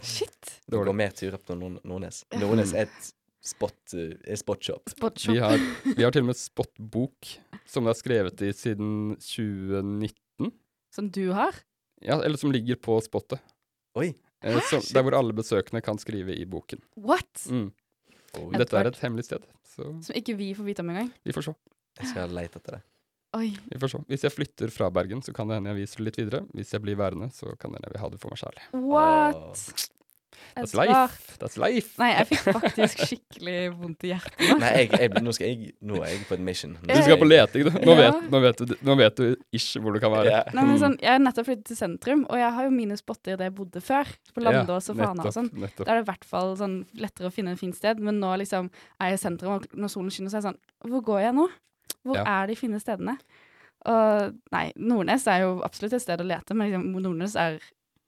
Speaker 1: Shit.
Speaker 3: Det går mer turer på Nord Nordnes. Nordnes er et spot, eh, et spotshop.
Speaker 2: Vi
Speaker 1: Spotshop.
Speaker 2: har, vi har til og med spotbok, som det er skrevet i siden 2019.
Speaker 1: Som du har.
Speaker 2: Ja, eller som ligger på spottet.
Speaker 3: Oi.
Speaker 1: Ah,
Speaker 2: Eh, som, der hvor alle besøkende kan skrive i boken.
Speaker 1: What?
Speaker 2: Mm.
Speaker 3: Oi.
Speaker 2: Men Dette er et hemmelig sted, så
Speaker 1: Som ikke vi får vite om engang.
Speaker 2: vi får se.
Speaker 3: Jeg skal lete etter det.
Speaker 1: Oi.
Speaker 2: Vi får se. Hvis jeg flytter fra Bergen, så kan det hende jeg viser det litt videre. Hvis jeg blir værende, så kan det hende jeg vil ha det for meg sjæl.
Speaker 1: What? Et
Speaker 2: That's
Speaker 1: svar.
Speaker 2: life! That's life!
Speaker 1: Nei, jeg fikk faktisk skikkelig vondt i hjertet.
Speaker 3: Nei, jeg, jeg, nå, skal jeg, nå er jeg på en mission. Nå
Speaker 2: Du skal på leting, du. Nå
Speaker 1: Ja.
Speaker 2: vet, nå vet, du, nå vet du ish hvor du kan være.
Speaker 3: Ja.
Speaker 1: Nei, men sånn, jeg har nettopp flyttet til sentrum, og jeg har jo mine spotter der jeg bodde før. På Landås og Fana og sånn.
Speaker 2: Mm. Nettopp, nettopp.
Speaker 1: Da er det i hvert fall sånn lettere å finne en fint sted. Men nå liksom er jeg i sentrum, og når solen skinner, så er jeg sånn Hvor går jeg nå? Hvor
Speaker 2: Ja.
Speaker 1: er de fine stedene? Og nei, Nordnes er jo absolutt et sted å lete, men liksom, Nordnes er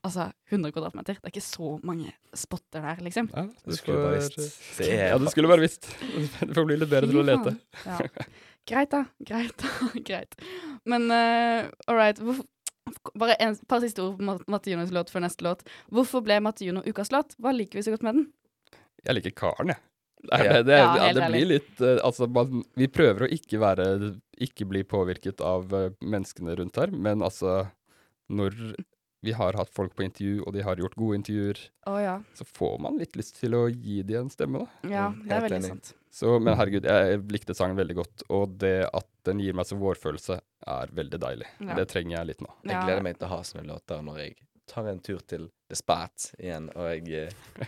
Speaker 1: altså 100 kvadratmeter. Det er ikke så mange spotter der, liksom.
Speaker 2: Ja,
Speaker 3: Du skulle bare visst. Det er
Speaker 2: Ja, du skulle bare visst. Du får bli litt bedre til å
Speaker 1: Fy
Speaker 2: lete.
Speaker 1: faen. Ja. Greit, da. Greit, da. Greit. Men uh, all right Hvorfor, Bare en par siste ord på Mat- Matte Junos låt før neste låt. Hvorfor ble Matte Juno ukas låt? Hva liker vi så godt med den?
Speaker 2: Jeg liker karen, jeg. Det, er-
Speaker 3: Ja.
Speaker 2: det, det,
Speaker 1: Ja,
Speaker 2: ja,
Speaker 1: helt
Speaker 2: det blir
Speaker 1: ærlig.
Speaker 2: litt eh, Altså, man, vi prøver å ikke være Ikke bli påvirket av eh, menneskene rundt her, men altså Når vi har hatt folk på intervju, og de har gjort gode intervjuer,
Speaker 1: Å ja.
Speaker 2: så får man litt lyst til å gi de en stemme, da.
Speaker 1: Ja,
Speaker 3: Mm,
Speaker 1: det er
Speaker 3: helt
Speaker 1: veldig
Speaker 3: enig.
Speaker 1: sant.
Speaker 2: Så, men herregud, jeg likte sangen veldig godt, og det at den gir meg så vårfølelse, er veldig deilig.
Speaker 1: Ja.
Speaker 2: Det trenger jeg litt nå.
Speaker 3: Jeg gleder meg til å ha sånne låter når jeg tar en tur til Despat igjen, og jeg eh,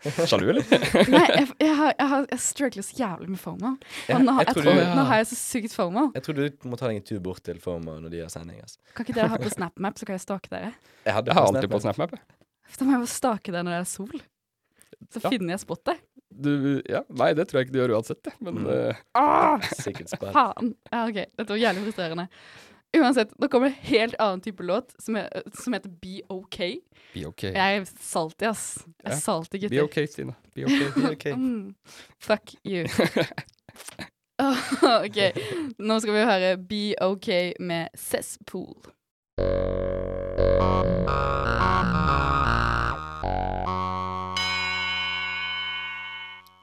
Speaker 2: Sjalu, eller?
Speaker 1: Nei, jeg, jeg, har, jeg, har, jeg struggler så jævlig med FOMO. Og nå, har- jeg
Speaker 3: tror
Speaker 1: tror,
Speaker 3: du-
Speaker 1: nå har jeg så sykt FOMO.
Speaker 3: Jeg tror du må ta deg en tur bort til Forma når de har sending. Altså.
Speaker 1: Kan ikke dere ha på SnapMap, så kan jeg stalke dere?
Speaker 3: Jeg, hadde
Speaker 2: Jeg har
Speaker 3: på
Speaker 2: alltid på
Speaker 3: Snap,
Speaker 2: SnapMap. jeg.
Speaker 1: Da må jeg bare stake dere når det er sol. Så
Speaker 2: Ja.
Speaker 1: finner jeg spottet.
Speaker 2: Du, ja, nei, det tror jeg ikke du gjør uansett, jeg, men
Speaker 3: Mm.
Speaker 2: eh,
Speaker 1: Ah,
Speaker 3: Sikkert Spat.
Speaker 1: faen! Ja, OK. Dette var jævlig frustrerende. Uansett, nå kommer en helt annen type låt som, he- som heter Be OK.
Speaker 2: be ok.
Speaker 1: Jeg er salty, ass. Jeg
Speaker 2: Ja.
Speaker 1: er salty, gutter.
Speaker 2: Be ok, Stine. Be ok.
Speaker 1: Mm. Fuck you. Åh, OK. Nå skal vi høre Be OK med Cesspool.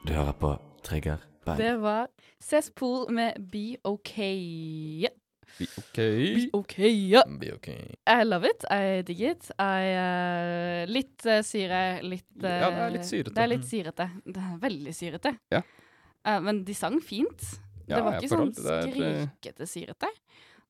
Speaker 4: Du hører på Trigger Bang.
Speaker 1: Det var Cesspool med Be OK. Yeah.
Speaker 2: Be ok.
Speaker 1: OK, yeah.
Speaker 3: Be ok.
Speaker 1: I love it. I dig it. I, eh, litt eh, syre, litt eh,
Speaker 2: Ja, det er litt syrete. Mm.
Speaker 1: Det er litt syrete. Det er veldig syrete.
Speaker 2: Ja.
Speaker 1: Eh, men de sang fint.
Speaker 2: Ja,
Speaker 1: det var
Speaker 2: jeg
Speaker 1: ikke
Speaker 2: får
Speaker 1: sånn
Speaker 2: alt det der, eh.
Speaker 1: skrikete syrete.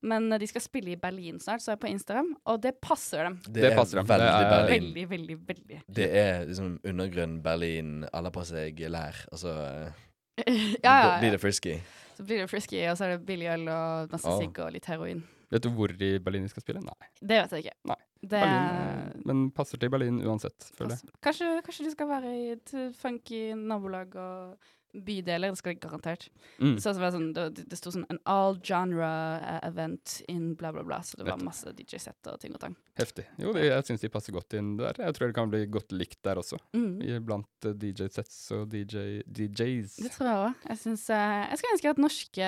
Speaker 1: Men eh, de skal spille i Berlin snart, så jeg på Instagram, og det passer dem.
Speaker 3: Det,
Speaker 2: Det
Speaker 3: er
Speaker 2: passer dem.
Speaker 3: veldig
Speaker 2: Det er-
Speaker 3: Berlin.
Speaker 1: Veldig, veldig, veldig.
Speaker 3: Det er liksom undergrunn Berlin, alle på seg lær. Altså eh,
Speaker 1: Ja,
Speaker 3: da
Speaker 1: ja,
Speaker 3: Blir
Speaker 1: ja.
Speaker 3: det frisky?
Speaker 1: Så blir det frisky, og så er det billig øl og masse
Speaker 3: Åh.
Speaker 1: sigg og litt heroin.
Speaker 2: Vet du hvor i Berlin de skal spille? Nei.
Speaker 1: Det vet jeg ikke.
Speaker 2: Nei.
Speaker 1: Det
Speaker 2: Berlin, eh, men passer til Berlin uansett, føler jeg.
Speaker 1: Altså, Kanskje, kanskje de skal være i et funky nabolag og bydeler. Det skal de garantert.
Speaker 2: Mm.
Speaker 1: Så det, var sånn, det, det sto sånn an all genre eh, event in bla, bla, bla. Så det var
Speaker 2: Nettopp.
Speaker 1: masse DJ-sett og ting og tang.
Speaker 2: Heftig. Jo, det, jeg syns de passer godt inn der. Jeg tror det kan bli godt likt der også,
Speaker 1: Mm.
Speaker 2: i- blant eh, DJ-sets og DJ,
Speaker 1: Det
Speaker 2: DJs.
Speaker 1: tror jeg òg. Jeg, syns, eh, jeg skulle ønske at norske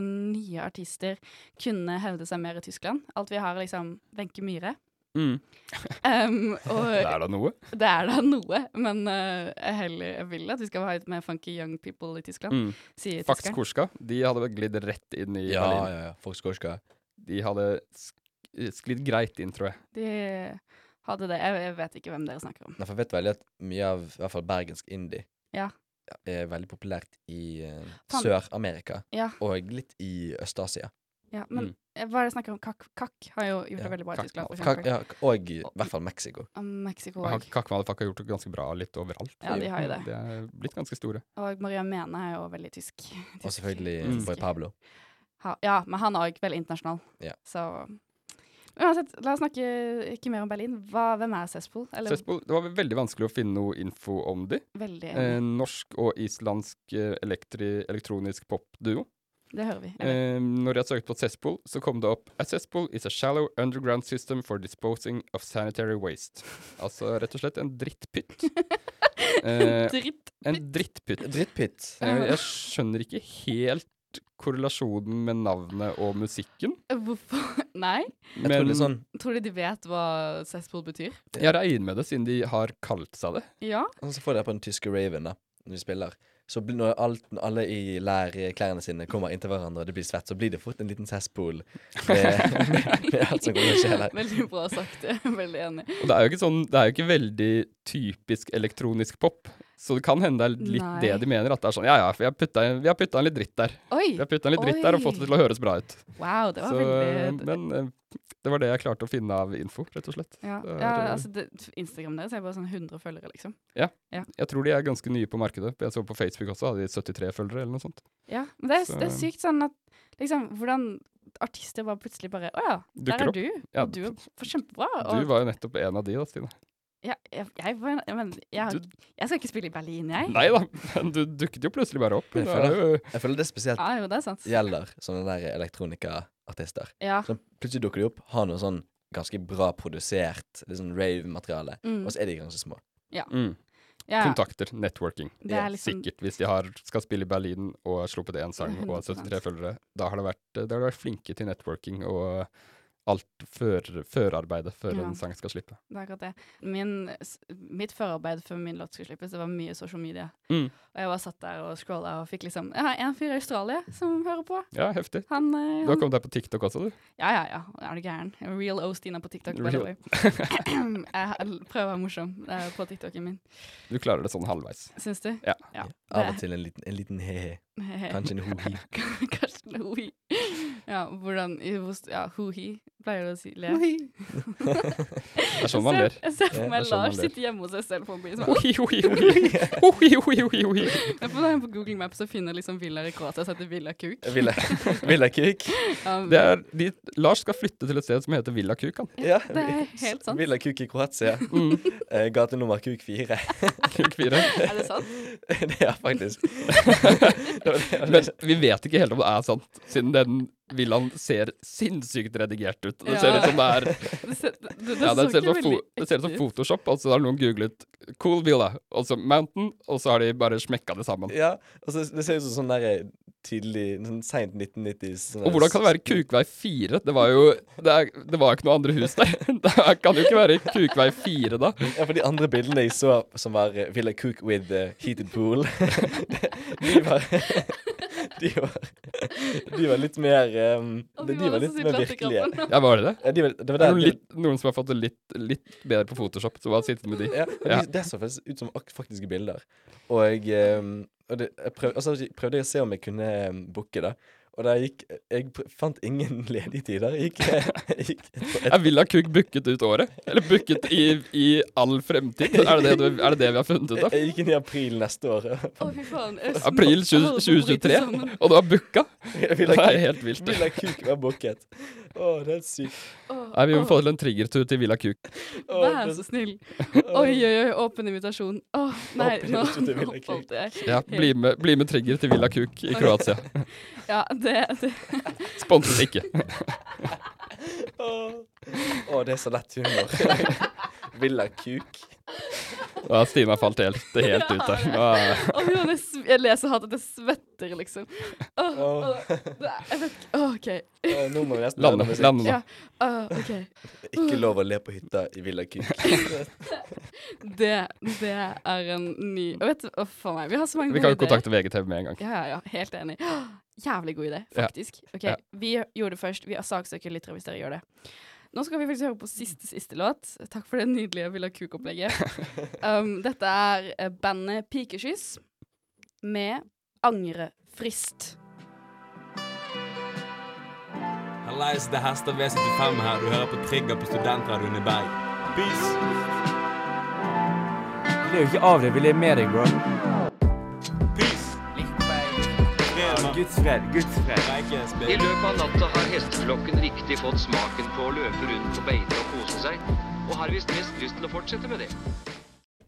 Speaker 1: nye artister kunne hevde seg mer i Tyskland. Alt vi har, er liksom Wenche Myhre.
Speaker 2: Mm.
Speaker 1: Um,
Speaker 2: Det
Speaker 1: og
Speaker 2: er da noe.
Speaker 1: det er da noe, men eh, jeg heller, jeg vil at vi skal ha litt mer funky young people i Tyskland,
Speaker 2: Mm.
Speaker 1: sier
Speaker 2: Fax
Speaker 1: tyskeren.
Speaker 2: Korska, de hadde vel glidd rett inn i
Speaker 3: Ja,
Speaker 2: Berlin.
Speaker 3: ja, ja. Folk skal ikke
Speaker 2: De hadde sk- sklidd greit inn, tror jeg.
Speaker 1: De hadde det. Jeg, jeg vet ikke hvem dere snakker om.
Speaker 3: Nei, for jeg vet veldig at mye av i hvert fall bergensk indie
Speaker 1: Ja.
Speaker 3: er veldig populært i eh,
Speaker 1: Fan.
Speaker 3: Sør-Amerika
Speaker 1: Ja.
Speaker 3: og litt i Øst-Asia.
Speaker 1: Ja, men
Speaker 2: Mm.
Speaker 1: eh, hva er det jeg snakker om? Kakk Kakk har jo gjort
Speaker 3: Ja,
Speaker 1: det veldig bra i
Speaker 2: Kakk.
Speaker 1: Tyskland. for
Speaker 3: Ka-
Speaker 1: eksempel.
Speaker 3: Ja, og i hvert fall Mexico.
Speaker 1: Og Mexico
Speaker 2: Men
Speaker 1: òg.
Speaker 2: Hak- Kakkemalefakk har gjort det ganske bra litt overalt.
Speaker 1: Ja, de har jo det.
Speaker 2: De er blitt ganske store.
Speaker 1: Og Maria Mene er jo veldig tysk. tysk.
Speaker 3: Og selvfølgelig
Speaker 2: Mm.
Speaker 3: Boy Pablo.
Speaker 1: Ha, ja, men han er òg veldig internasjonal.
Speaker 3: Ja.
Speaker 1: Så Men Uansett, la oss snakke ikke mer om Berlin. Hva, hvem er Cesspool? Eller
Speaker 2: Søsbol, det var veldig vanskelig å finne noe info om de.
Speaker 1: veldig
Speaker 2: Eh, norsk og islandsk eh, elektri, elektronisk popduo.
Speaker 1: Det hører vi. Eller,
Speaker 2: Eh, når jeg søkte på Cesspool, så kom det opp A cesspool is a shallow underground system for disposing of sanitary waste. Altså rett og slett en drittpytt. eh,
Speaker 1: Dritt.
Speaker 2: en drittpytt.
Speaker 3: Drittpytt.
Speaker 2: Eh, jeg skjønner ikke helt korrelasjonen med navnet og musikken.
Speaker 1: Hvorfor Nei?
Speaker 3: Jeg tror det er sånn,
Speaker 1: Tror du de vet hva Cesspool betyr?
Speaker 2: jeg regner med det, siden de har kalt seg det.
Speaker 1: Ja.
Speaker 3: sånn som får dere på den tyske raven da, når vi spiller. Så blir- når alt, når alle i lær i klærne sine kommer inntil hverandre og det blir svett, så blir det fort en liten cesspool med, med, med alt som kommer til å skje der.
Speaker 1: Veldig bra sagt. Jeg er Veldig enig.
Speaker 2: Og det er jo ikke, sånn, det er jo ikke veldig typisk elektronisk pop. Så det kan hende det er litt
Speaker 1: Nei.
Speaker 2: det de mener. At det er sånn, ja ja, for jeg putta inn- vi har putta inn litt dritt der.
Speaker 1: Oi!
Speaker 2: Vi har putta inn litt dritt der og fått det til å høres bra ut.
Speaker 1: Wow, det var
Speaker 2: Så,
Speaker 1: veldig
Speaker 2: Men eh, det var det jeg klarte å finne av info, rett og slett.
Speaker 1: Ja,
Speaker 2: Det er,
Speaker 1: ja
Speaker 2: eh,
Speaker 1: altså det, Instagram deres er bare sånn 100 følgere, liksom.
Speaker 2: Jeg tror de er ganske nye på markedet. Jeg så på Facebook også, hadde de 73 følgere eller noe sånt.
Speaker 1: Ja, men det er,
Speaker 2: Så- eh,
Speaker 1: det er sykt sånn at liksom, hvordan artister bare plutselig bare Å ja, der
Speaker 2: Dukker
Speaker 1: er
Speaker 2: opp.
Speaker 1: du.
Speaker 2: Ja,
Speaker 1: og du er f- kjempebra. Og
Speaker 2: Du var jo nettopp en av de, da, Stine.
Speaker 1: ja, jeg, jeg, var en- jeg, men, jeg, har-
Speaker 2: Du-
Speaker 1: jeg skal ikke spille i Berlin, jeg.
Speaker 2: Nei da, men du dukket jo eh, plutselig bare opp.
Speaker 3: Men
Speaker 2: Det
Speaker 3: jeg
Speaker 2: er jo
Speaker 3: Jeg føler det spesielt
Speaker 1: Ja, jo, det er sant.
Speaker 3: gjelder sånne der elektronika artister.
Speaker 1: Ja.
Speaker 3: Så plutselig dukker de opp, har noe sånn ganske bra produsert litt sånn rave-materiale,
Speaker 1: Mm.
Speaker 3: og så er de ganske små.
Speaker 2: Mm.
Speaker 1: ja, ja.
Speaker 2: Kontakter, networking.
Speaker 1: Det er liksom
Speaker 2: Sikkert, hvis de har, skal spille i Berlin og har sluppet én sang og har
Speaker 1: 100%.
Speaker 2: 73 følgere. Da har de vært, da har de vært flinke til networking og alt før, førarbeidet før
Speaker 1: Ja.
Speaker 2: en sang skal slippe.
Speaker 1: Det er akkurat det. Min, s- mitt forarbeid før min låt skulle slippes, det var mye sosiale medier.
Speaker 2: Mm.
Speaker 1: Og jeg bare satt der og scrolla og fikk liksom Jeg har en fyr i Australia som hører på.
Speaker 2: Ja, heftig.
Speaker 1: Han, eh,
Speaker 2: Du har
Speaker 1: han
Speaker 2: kommet deg på TikTok også, du.
Speaker 1: Ja, ja, ja. Er du gæren? Real O-Stina på TikTok, by the
Speaker 2: Real-
Speaker 1: way. jeg har- prøver å være morsom eh, på TikToken min.
Speaker 2: Du klarer det sånn halvveis.
Speaker 1: Syns du?
Speaker 2: Ja.
Speaker 1: ja.
Speaker 3: Av og til en liten, en liten he-he. Kanskje en ho-hi.
Speaker 1: Kanskje en ho-hi. Ja, hvordan i hvor st- Ja, ho-hi, pleier du å si. Le. Ho-hi.
Speaker 2: Det er sånn man ler.
Speaker 1: Jeg ser for
Speaker 3: Ja,
Speaker 1: meg
Speaker 3: det er sånn man
Speaker 1: Lars
Speaker 3: ler.
Speaker 1: sitte hjemme hos seg selv på en bil.
Speaker 2: Oi, oi, oi. Oi, oi, oi, oi.
Speaker 1: Jeg får være på Google Maps og finne liksom villaer i Kroatia som heter Villa Kuk.
Speaker 3: Villa Villa Kuk.
Speaker 1: Um,
Speaker 2: Det er, de, Lars skal flytte til et sted som heter Villa Kuk, han.
Speaker 3: Ja,
Speaker 1: det er helt sant.
Speaker 3: Villa Kuk i Kroatia.
Speaker 2: Mm.
Speaker 3: Eh, Gatenummer Kuk 4.
Speaker 2: Kuk 4.
Speaker 1: Er det sant?
Speaker 3: det er faktisk
Speaker 2: Men vi vet ikke helt om det er sant, siden den villaen ser sinnssykt redigert ut. Det ser
Speaker 1: Ja.
Speaker 2: ut som det er
Speaker 1: Det, ser- det, det,
Speaker 2: ja, det
Speaker 1: så
Speaker 2: ser
Speaker 1: ikke
Speaker 2: ut som fo-
Speaker 1: veldig
Speaker 2: det ser ut som
Speaker 1: ekte ut.
Speaker 2: Photoshop, og så har noen googlet 'Cool Villa', og så 'Mountain', og så har de bare smekka det sammen.
Speaker 3: Ja, altså, det ser ut som sånn der eh, tidlig sånn Seint 1990s. sånn
Speaker 2: Og hvordan kan det være Kukvei 4? Det var jo det, er, det var jo ikke noe andre hus der. Det er- kan jo ikke være Kukvei 4 da.
Speaker 3: Ja, for de andre bildene jeg så, som var eh, Villa Cook with eh, heated pool De var De var, de var litt mer em,
Speaker 1: Og
Speaker 3: de,
Speaker 1: vi
Speaker 3: de var
Speaker 1: også
Speaker 3: litt
Speaker 1: så
Speaker 3: mer
Speaker 1: glatt i
Speaker 3: virkelige.
Speaker 1: kroppen.
Speaker 2: Ja, var det det?
Speaker 3: Ja, de var, det
Speaker 2: Det
Speaker 3: var
Speaker 2: er
Speaker 3: der,
Speaker 2: noen,
Speaker 3: de-
Speaker 2: litt, noen som har fått det litt, litt bedre på Photoshop, som har sittet med de.
Speaker 3: ja, og
Speaker 2: Ja.
Speaker 3: de, Det så faktisk ut som ak- faktiske bilder. Og, em, og det, jeg prøv, altså, jeg prøvde jeg å se om jeg kunne em, booke det. Og da jeg gikk Jeg pr fant ingen ledige tider. Jeg gikk, jeg gikk et,
Speaker 2: Er Villa Kuk booket ut året? Eller booket i, i all fremtid? Er det det, du, er det det vi har funnet ut av?
Speaker 3: jeg gikk inn i april neste år.
Speaker 1: Å, fy faen. jeg sm-
Speaker 2: April
Speaker 1: jeg holder på å bryte
Speaker 2: 2023,
Speaker 1: sammen.
Speaker 2: og du har booka?
Speaker 3: Villa
Speaker 2: Det er
Speaker 3: Cook-
Speaker 2: helt vilt.
Speaker 3: Villa Cook var booket. Å, det er helt sykt.
Speaker 1: Å,
Speaker 2: Nei, vi må
Speaker 1: å,
Speaker 2: få til en triggertur til Villa Kuk.
Speaker 3: Å,
Speaker 1: Vær
Speaker 3: det-
Speaker 1: så snill. Oi, oi, oi. Åpen invitasjon. Å, nei,
Speaker 3: Åpen
Speaker 1: nå
Speaker 3: invitasjon til Villa
Speaker 1: nå
Speaker 3: Kuk.
Speaker 1: falt jeg.
Speaker 2: Ja, bli med, bli med Trigger til Villa Kuk i Kroatia.
Speaker 1: Ja, det, det
Speaker 2: Sponset ikke.
Speaker 3: Åh, Åh, det er så lett humor. Villa kuk.
Speaker 2: Ja, Stina falt helt, helt ut der. Ah, Ja.
Speaker 1: Å, fy faen, jeg, sv- jeg leser hardt at jeg svetter, liksom. Å,
Speaker 3: Åh.
Speaker 1: å, det er- jeg vet ikke Å, OK.
Speaker 3: Åh, nå må vi nesten
Speaker 2: Lande,
Speaker 3: høre musikk.
Speaker 2: lande nå.
Speaker 1: Ja. Å, OK.
Speaker 3: Ikke lov å le på hytta i Villa kuk.
Speaker 1: Det, det er en ny Og vet du, å, faen meg. Vi har så mange
Speaker 2: Vi kan
Speaker 1: gode ideer.
Speaker 2: jo kontakte VGTV med en gang.
Speaker 1: Ja, ja, ja. Helt enig. Jævlig god idé,
Speaker 2: Ja.
Speaker 1: faktisk. Ok,
Speaker 2: Ja.
Speaker 1: Vi gjorde det først. Vi saksøker lyttere hvis dere gjør det. Nå skal vi faktisk høre på siste, siste låt. Takk for det nydelige Villa Kuk-opplegget. Um, dette er eh, bandet Pikeskyss med Angrefrist.
Speaker 4: Hallais, det er Hester V75 her. Du hører på Trigger på Studentradioen i Bergen. Peace!
Speaker 5: Lev ikke av deg, vi lever med deg, bro.
Speaker 4: Peace! Rema,
Speaker 5: Guds fred, Guds fred.
Speaker 4: Reikes,
Speaker 6: I
Speaker 4: baby.
Speaker 6: løpet av natta har hesteflokken riktig fått smaken på å løpe rundt på beite og kose seg, og har visst mest lyst til å fortsette med det.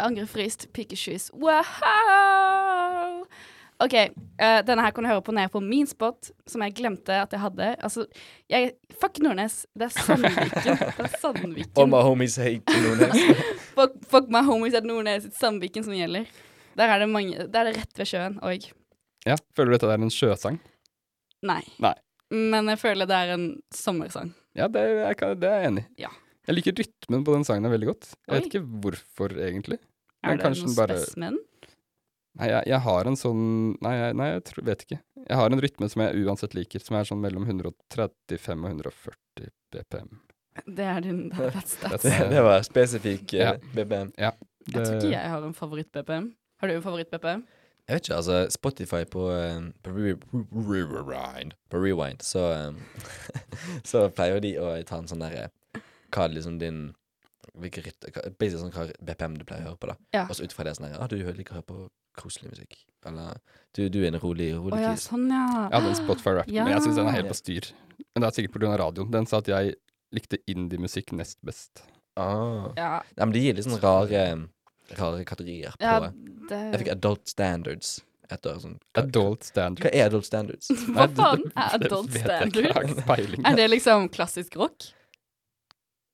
Speaker 1: Angrefrist, Pikeskyss. Wow! OK, eh, denne her kan du høre på nede på min spot, som jeg glemte at jeg hadde. Altså, jeg Fuck Nordnes. Det er Sandviken. Det er
Speaker 3: All
Speaker 1: Sandviken.
Speaker 3: my homies hate Nordnes.
Speaker 1: Fuck, fuck my homies at Nordnes i Sandviken som gjelder. Der er det, mange, der er det rett ved sjøen òg.
Speaker 2: Ja, Føler du dette er en sjøsang?
Speaker 1: Nei.
Speaker 2: Nei.
Speaker 1: Men jeg føler det er en sommersang.
Speaker 2: Ja, det, er- jeg, kan, det er jeg enig i.
Speaker 1: Ja.
Speaker 2: Jeg liker rytmen på den sangen veldig godt. Jeg
Speaker 1: Oi.
Speaker 2: vet ikke hvorfor, egentlig.
Speaker 1: Er
Speaker 2: Men
Speaker 1: det
Speaker 2: kanskje
Speaker 1: noe
Speaker 2: den bare-
Speaker 1: spesmen?
Speaker 2: Nei, jeg, jeg har en sånn Nei, jeg, nei, jeg tror, vet ikke. Jeg har en rytme som jeg uansett liker, som er sånn mellom 135 og 140 BPM.
Speaker 1: Det er din det- That's that.
Speaker 2: Dette
Speaker 3: Det
Speaker 2: er-
Speaker 3: var spesifikk eh,
Speaker 2: Ja.
Speaker 3: BBM.
Speaker 1: Jeg tror ikke
Speaker 2: det-
Speaker 1: jeg har en favoritt-BPM. Har du en favoritt-BPM?
Speaker 3: Jeg vet ikke, altså Spotify på, eh, på re re rewind, på rewind så, eh, så pleier jo de å ta en sånn derre Hva er liksom din hvilke ryt, hva- Basically sånn hva BPM du pleier å høre på, da.
Speaker 1: Ja.
Speaker 3: Og så ut fra det sånn der, ah, du liker å høre på koselig musikk. Eller du, du er en rolig,
Speaker 1: Å
Speaker 3: rolig
Speaker 1: ja,
Speaker 3: kis.
Speaker 1: sånn, ja.
Speaker 2: Ja, den Spotify-rappen. Men jeg syns den er helt
Speaker 3: Ja.
Speaker 2: på styr. Men det er sikkert pga. radioen. Den sa at jeg likte indie-musikk nest best.
Speaker 3: Ah.
Speaker 1: Ja,
Speaker 3: Nei, men de gir litt sånn rare Rare kategorier på
Speaker 1: ja
Speaker 3: Jeg fikk
Speaker 1: det
Speaker 3: adult standards. ett år. Sånn, hva,
Speaker 2: Adult
Speaker 3: hva
Speaker 2: standard.
Speaker 3: er adult standards?
Speaker 1: Hva faen er
Speaker 2: Det
Speaker 1: adult
Speaker 2: vet jeg ikke, jeg har
Speaker 1: standard?
Speaker 2: ikke peiling.
Speaker 1: Er det liksom klassisk rock?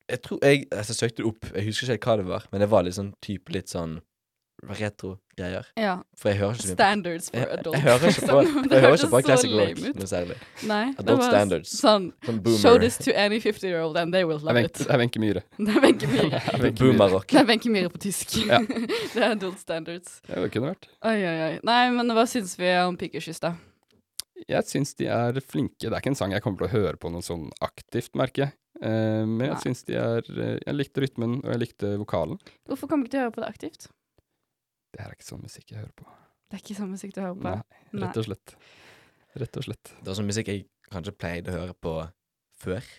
Speaker 3: Jeg tror jeg, altså, jeg søkte det opp, jeg husker ikke helt hva det var, men det var litt sånn type litt sånn retro-greier.
Speaker 1: Ja.
Speaker 3: For jeg hører ikke så mye på
Speaker 1: Standards for
Speaker 3: jeg,
Speaker 1: adults.
Speaker 3: jeg hører ikke på,
Speaker 1: liksom.
Speaker 3: jeg hører
Speaker 1: hørtes
Speaker 3: ikke på
Speaker 1: så
Speaker 3: classic rock
Speaker 1: lame ut.
Speaker 3: noe særlig.
Speaker 1: Nei, det
Speaker 3: Adult
Speaker 1: var
Speaker 3: standards.
Speaker 1: sånn
Speaker 3: Sånn
Speaker 1: Show
Speaker 3: boomer,
Speaker 1: this to any 50-year-old and they will
Speaker 2: Det er
Speaker 1: love it.
Speaker 2: Wenche- det er Wenche Myhre.
Speaker 1: Det er Wenche Myhre.
Speaker 2: Det er Wenche Myhre.
Speaker 3: Sånn boomer-rock.
Speaker 1: Det er Wenche Myhre på tysk.
Speaker 2: Ja.
Speaker 1: det er adult standards.
Speaker 2: Ja, det kunne vært.
Speaker 1: Oi, oi, oi. Nei, men hva syns vi om Pikerskyss, da?
Speaker 2: Jeg syns de er flinke. Det er ikke en sang jeg kommer til å høre på noe sånn aktivt, merker jeg. Eh, men jeg
Speaker 1: Nei.
Speaker 2: syns de er eh, Jeg likte rytmen, og jeg likte vokalen.
Speaker 1: Hvorfor kommer ikke du til å høre på det aktivt?
Speaker 2: Det her er ikke sånn musikk jeg hører på.
Speaker 1: Det er ikke sånn musikk du hører på.
Speaker 2: Nei, rett og slett. Rett og slett.
Speaker 3: Det var sånn musikk jeg kanskje pleide å høre på før,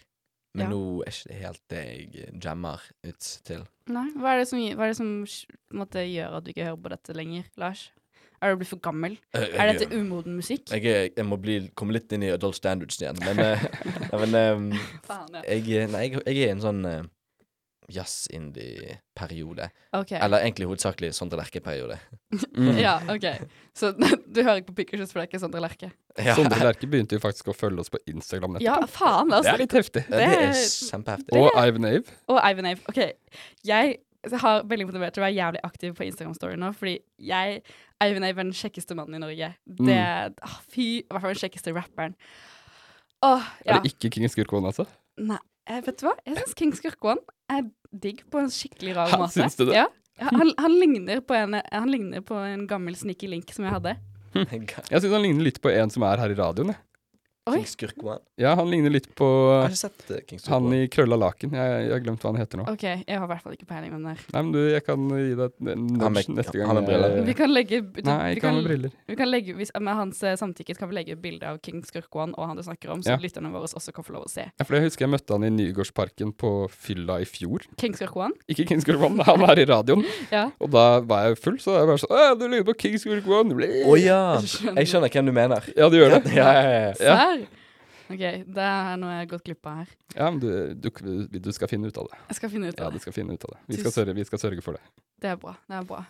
Speaker 3: men
Speaker 1: Ja.
Speaker 3: nå er ikke det helt det jeg jammer ut til.
Speaker 1: Nei. Hva er det som, hva er det som sj- på en måte, gjør at du ikke hører på dette lenger, Lars? Er du blitt for gammel?
Speaker 3: Jeg,
Speaker 1: Er dette umoden musikk?
Speaker 3: jeg, jeg, jeg må bli, komme litt inn i adult standards igjen, men, eh, nei, men eh,
Speaker 1: Faen, ja.
Speaker 3: jeg, nei, jeg, jeg er i en sånn eh, jazz-indie-periode.
Speaker 1: OK.
Speaker 3: Eller egentlig hovedsakelig sånn Sondre Lerche-periode.
Speaker 2: Mm.
Speaker 1: Ja, ok. Så du hører ikke på Pikerskyss, for det er ikke Sondre Lerche?
Speaker 3: Ja,
Speaker 2: Sondre Lerche begynte jo faktisk å følge oss på Instagram nettopp.
Speaker 1: Ja, faen,
Speaker 2: det
Speaker 1: altså.
Speaker 2: er litt heftig.
Speaker 3: det er
Speaker 1: det-
Speaker 3: kjempeheftig.
Speaker 2: Og Ivan Ave.
Speaker 1: Og Ivan Ave. OK, jeg har veldig motivert til å være jævlig aktiv på Instagram-story nå, fordi jeg Ivan Ave er den kjekkeste mannen i Norge.
Speaker 2: Mm.
Speaker 1: Det ah, Fy I hvert fall den kjekkeste rapperen. Åh, ja.
Speaker 2: Er det ikke King Skurkvold, altså?
Speaker 1: Nei, eh, vet du hva? Jeg syns King Skurkvoen er digg på en skikkelig rar
Speaker 2: Ja,
Speaker 1: måte.
Speaker 2: syns du det?
Speaker 1: Ja. Han, han, ligner på en, han ligner på en gammel Sneaky Link som jeg hadde.
Speaker 3: King
Speaker 2: Jeg syns han ligner litt på en som er her i radioen. jeg.
Speaker 1: Oi.
Speaker 3: Skurkman.
Speaker 2: Ja, han ligner litt på eh,
Speaker 3: Har ikke sett eh, King
Speaker 2: han
Speaker 3: Skurkman.
Speaker 2: i krølla laken. Jeg, jeg har glemt hva han heter nå.
Speaker 1: OK, jeg har i hvert fall ikke peiling om det her.
Speaker 2: Nei, men du, jeg kan gi deg et en
Speaker 3: Han med-
Speaker 2: nudge neste gang.
Speaker 3: han med briller.
Speaker 2: jeg-
Speaker 1: Vi kan legge
Speaker 2: Eh, Nei,
Speaker 1: vi
Speaker 2: ikke han med briller.
Speaker 1: Vi kan legge, hvis, med hans eh, samtykke kan vi legge bilde av King Skurkwan og han du snakker om, så
Speaker 2: Ja.
Speaker 1: lytterne våre også kan få lov å se.
Speaker 2: Ja, for jeg husker jeg møtte han i Nygårdsparken på fylla i fjor.
Speaker 1: King Skurkwan?
Speaker 2: Ikke King Skurk One, han er i radioen.
Speaker 1: Ja.
Speaker 2: Og da var jeg full, så jeg bare sånn Å, du lurer på King Skurk One?
Speaker 3: Å ja! Jeg skjønner hvem du mener.
Speaker 2: Ja, du gjør det?
Speaker 3: Ja, ja, ja, ja.
Speaker 2: Ja.
Speaker 1: Serr? OK, det er noe jeg har gått glipp av her.
Speaker 2: Ja, men du, du, du skal finne ut av det.
Speaker 1: Jeg skal finne ut
Speaker 2: Ja,
Speaker 1: av
Speaker 2: du
Speaker 1: det.
Speaker 2: skal finne ut av det. Vi skal sørge, vi skal sørge for det.
Speaker 1: Det er bra. det er bra.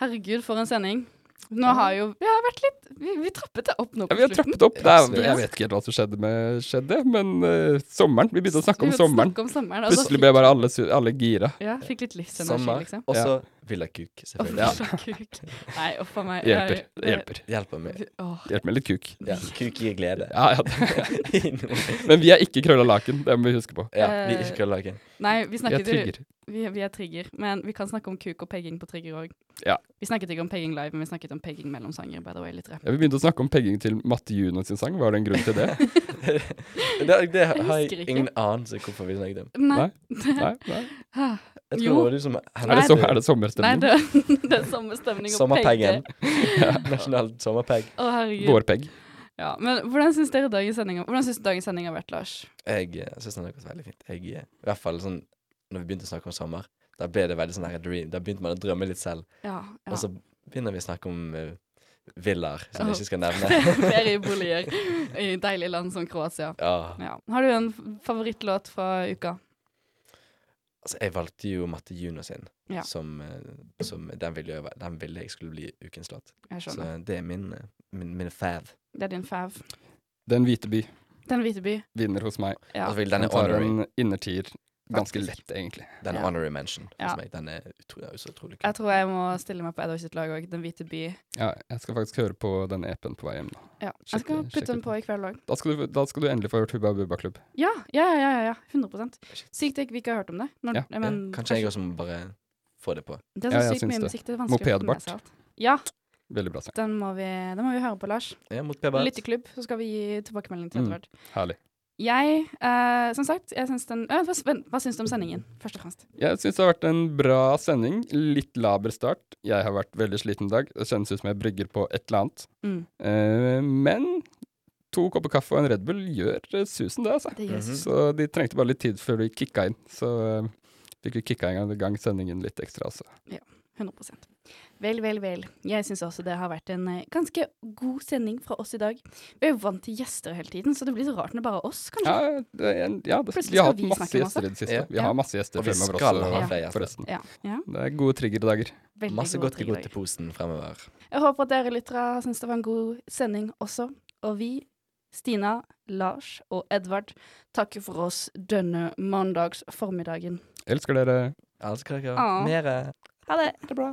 Speaker 1: Herregud, for en sending. Nå har jo Vi har vært litt Vi, vi trappet det opp nå
Speaker 2: Ja,
Speaker 1: på
Speaker 2: vi har
Speaker 1: slutten.
Speaker 2: trappet opp. Det er,
Speaker 3: Absolutt.
Speaker 2: jeg vet ikke helt hva som skjedde, med, skjedde men eh, sommeren Vi begynte å snakke om
Speaker 1: Vi
Speaker 2: sommeren.
Speaker 1: Snakke om Altså- sommeren og så
Speaker 2: Plutselig ble bare alle, su- alle gira.
Speaker 1: fikk- Ja, fikk litt livsenergi,
Speaker 3: Sommer.
Speaker 1: liksom.
Speaker 3: Og så Villa Kuk,
Speaker 1: Og
Speaker 3: selvfølgelig.
Speaker 1: kuk. Nei, uff a meg.
Speaker 2: Det hjelper. Det hjelper.
Speaker 3: Hjelper meg.
Speaker 1: Åh,
Speaker 2: Hjelp med litt kuk.
Speaker 3: Ja. Kuk gir glede.
Speaker 2: Ja, ja. Men vi er ikke krølla laken, det må vi huske på.
Speaker 3: Ja, vi er ikke køllaken.
Speaker 1: Nei, vi
Speaker 2: Vi er
Speaker 1: snakket jo
Speaker 2: trigger.
Speaker 1: Vi, vi er trigger, men vi kan snakke om kuk og pegging på trigger òg.
Speaker 2: Ja.
Speaker 1: Vi snakket ikke om pegging live, men vi snakket om pegging mellom sanger. by the way, litt rap.
Speaker 2: Ja, vi begynte å snakke om pegging til Matte Juno sin sang. Var det en grunn til det?
Speaker 3: Det, det har
Speaker 1: husker
Speaker 3: jeg
Speaker 1: ikke.
Speaker 3: ingen anelse hvorfor vi snakket om.
Speaker 1: Nei,
Speaker 2: Nei. Nei, nei.
Speaker 3: Jeg tror
Speaker 1: Jo.
Speaker 3: det var du som
Speaker 2: Er, det
Speaker 1: Nei,
Speaker 2: som,
Speaker 1: det-
Speaker 2: er det
Speaker 1: nei
Speaker 2: sommerstemning?
Speaker 1: det, det er samme stemning å pegge.
Speaker 3: Sommerpeggen. Nasjonal sommerpegg.
Speaker 1: Å, herregud.
Speaker 2: Vårpegg.
Speaker 1: Ja, men hvordan syns dere dagens sending, hvordan syns dagens sending har vært, Lars?
Speaker 3: Jeg eh, synes den har gått veldig fint. Jeg, eh, I hvert fall sånn når vi begynte å snakke om sommer, da ble det veldig sånn her dream. Da begynte man å drømme litt selv.
Speaker 1: Ja, ja.
Speaker 3: Og så begynner vi å snakke om eh, villaer som
Speaker 1: Åh.
Speaker 3: jeg ikke skal nevne.
Speaker 1: Ferieboliger i deilige land som Kroatia.
Speaker 3: Ja.
Speaker 1: Ja. Har du en f- favorittlåt fra uka?
Speaker 3: Altså, jeg valgte jo Matte Juno sin,
Speaker 1: Ja.
Speaker 3: som, eh, som den, ville jeg, den ville jeg skulle bli ukens låt.
Speaker 1: Jeg
Speaker 3: Så
Speaker 1: skjønner.
Speaker 3: det er min, eh, min, min fav.
Speaker 1: Det er din fav.
Speaker 2: Den hvite by
Speaker 1: Den hvite by.
Speaker 2: vinner hos meg.
Speaker 1: Ja.
Speaker 3: Altså, den
Speaker 2: Den
Speaker 3: er
Speaker 2: tar
Speaker 3: honorary,
Speaker 2: en innertier ganske
Speaker 1: Faktisk.
Speaker 2: lett, egentlig.
Speaker 3: den er
Speaker 1: Ja.
Speaker 3: honorary mention
Speaker 1: Ja.
Speaker 3: hos meg. Den er utrolig, så utrolig kul.
Speaker 1: Jeg tror jeg må stille meg på Edvard sitt lag òg. Den hvite by.
Speaker 2: Ja, jeg skal faktisk høre på den EP-en på vei hjem. Da.
Speaker 1: Ja.
Speaker 2: Sjekke-
Speaker 1: Jeg skal
Speaker 2: sjekke
Speaker 1: putte den
Speaker 2: ut
Speaker 1: på i kveld òg.
Speaker 2: Da skal, du, da skal du endelig få hørt Hubba Bubba Klubb.
Speaker 1: Ja, ja, ja, ja, ja, 100 Sykt at vi ikke har hørt om det. Når,
Speaker 2: Ja.
Speaker 1: ja,
Speaker 3: Ja,
Speaker 1: men,
Speaker 3: kanskje jeg også må bare få det på.
Speaker 1: Det
Speaker 2: Ja,
Speaker 1: er så
Speaker 2: jeg
Speaker 1: sykt mye
Speaker 2: syns det.
Speaker 1: musikk, det er vanskelig å få med
Speaker 2: Mopedbart.
Speaker 1: seg alt. Ja,
Speaker 2: Veldig bra sang.
Speaker 1: den må, vi, den må vi høre på, Lars.
Speaker 3: Ja, mot P-Bart.
Speaker 1: Lytteklubb, så skal vi gi tilbakemelding til
Speaker 2: Mm.
Speaker 1: Edvard.
Speaker 2: Herlig. jeg
Speaker 1: Jeg, eh, som sagt, jeg syns den øh, hva, spen- hva syns du om sendingen, først og fremst?
Speaker 2: syns det har vært en bra sending. Litt laber start. Jeg har vært veldig sliten i dag. Det kjennes ut som jeg brygger på et eller annet.
Speaker 1: Mm.
Speaker 2: Eh, men to kopper kaffe og en Red Bull gjør eh, susen, det, altså.
Speaker 1: Det gjør
Speaker 3: Mhm.
Speaker 2: Så de trengte bare litt tid før de kicka inn. Så eh, fikk vi kicka i gang- i gang sendingen litt ekstra, altså.
Speaker 1: 100 Vel, vel, vel. Jeg syns også det har vært en eh, ganske god sending fra oss i dag. Vi er jo vant til gjester hele tiden, så det blir så rart når det bare er oss, kanskje.
Speaker 2: Ja, det er en, ja det,
Speaker 1: Plutselig
Speaker 2: vi har
Speaker 1: skal
Speaker 2: hatt
Speaker 1: vi
Speaker 2: masse
Speaker 1: snakke masse.
Speaker 2: gjester i det siste.
Speaker 3: Ja.
Speaker 2: Vi har masse gjester
Speaker 3: Og vi
Speaker 2: fremover
Speaker 3: skal
Speaker 2: også,
Speaker 3: ha flere gjester.
Speaker 2: forresten.
Speaker 1: Ja. ja.
Speaker 2: Det er gode triggerdager.
Speaker 1: Veldig
Speaker 3: Masse
Speaker 1: gode
Speaker 3: godt i godt
Speaker 1: tillegg.
Speaker 3: i posen fremover.
Speaker 1: Jeg håper at dere lyttere syns det var en god sending også. Og vi, Stina, Lars og Edvard, takker for oss denne mandags formiddagen.
Speaker 2: Elsker dere.
Speaker 3: Elsker dere.
Speaker 1: Ah.
Speaker 3: Mere.
Speaker 1: Ha det!
Speaker 3: Ha det bra.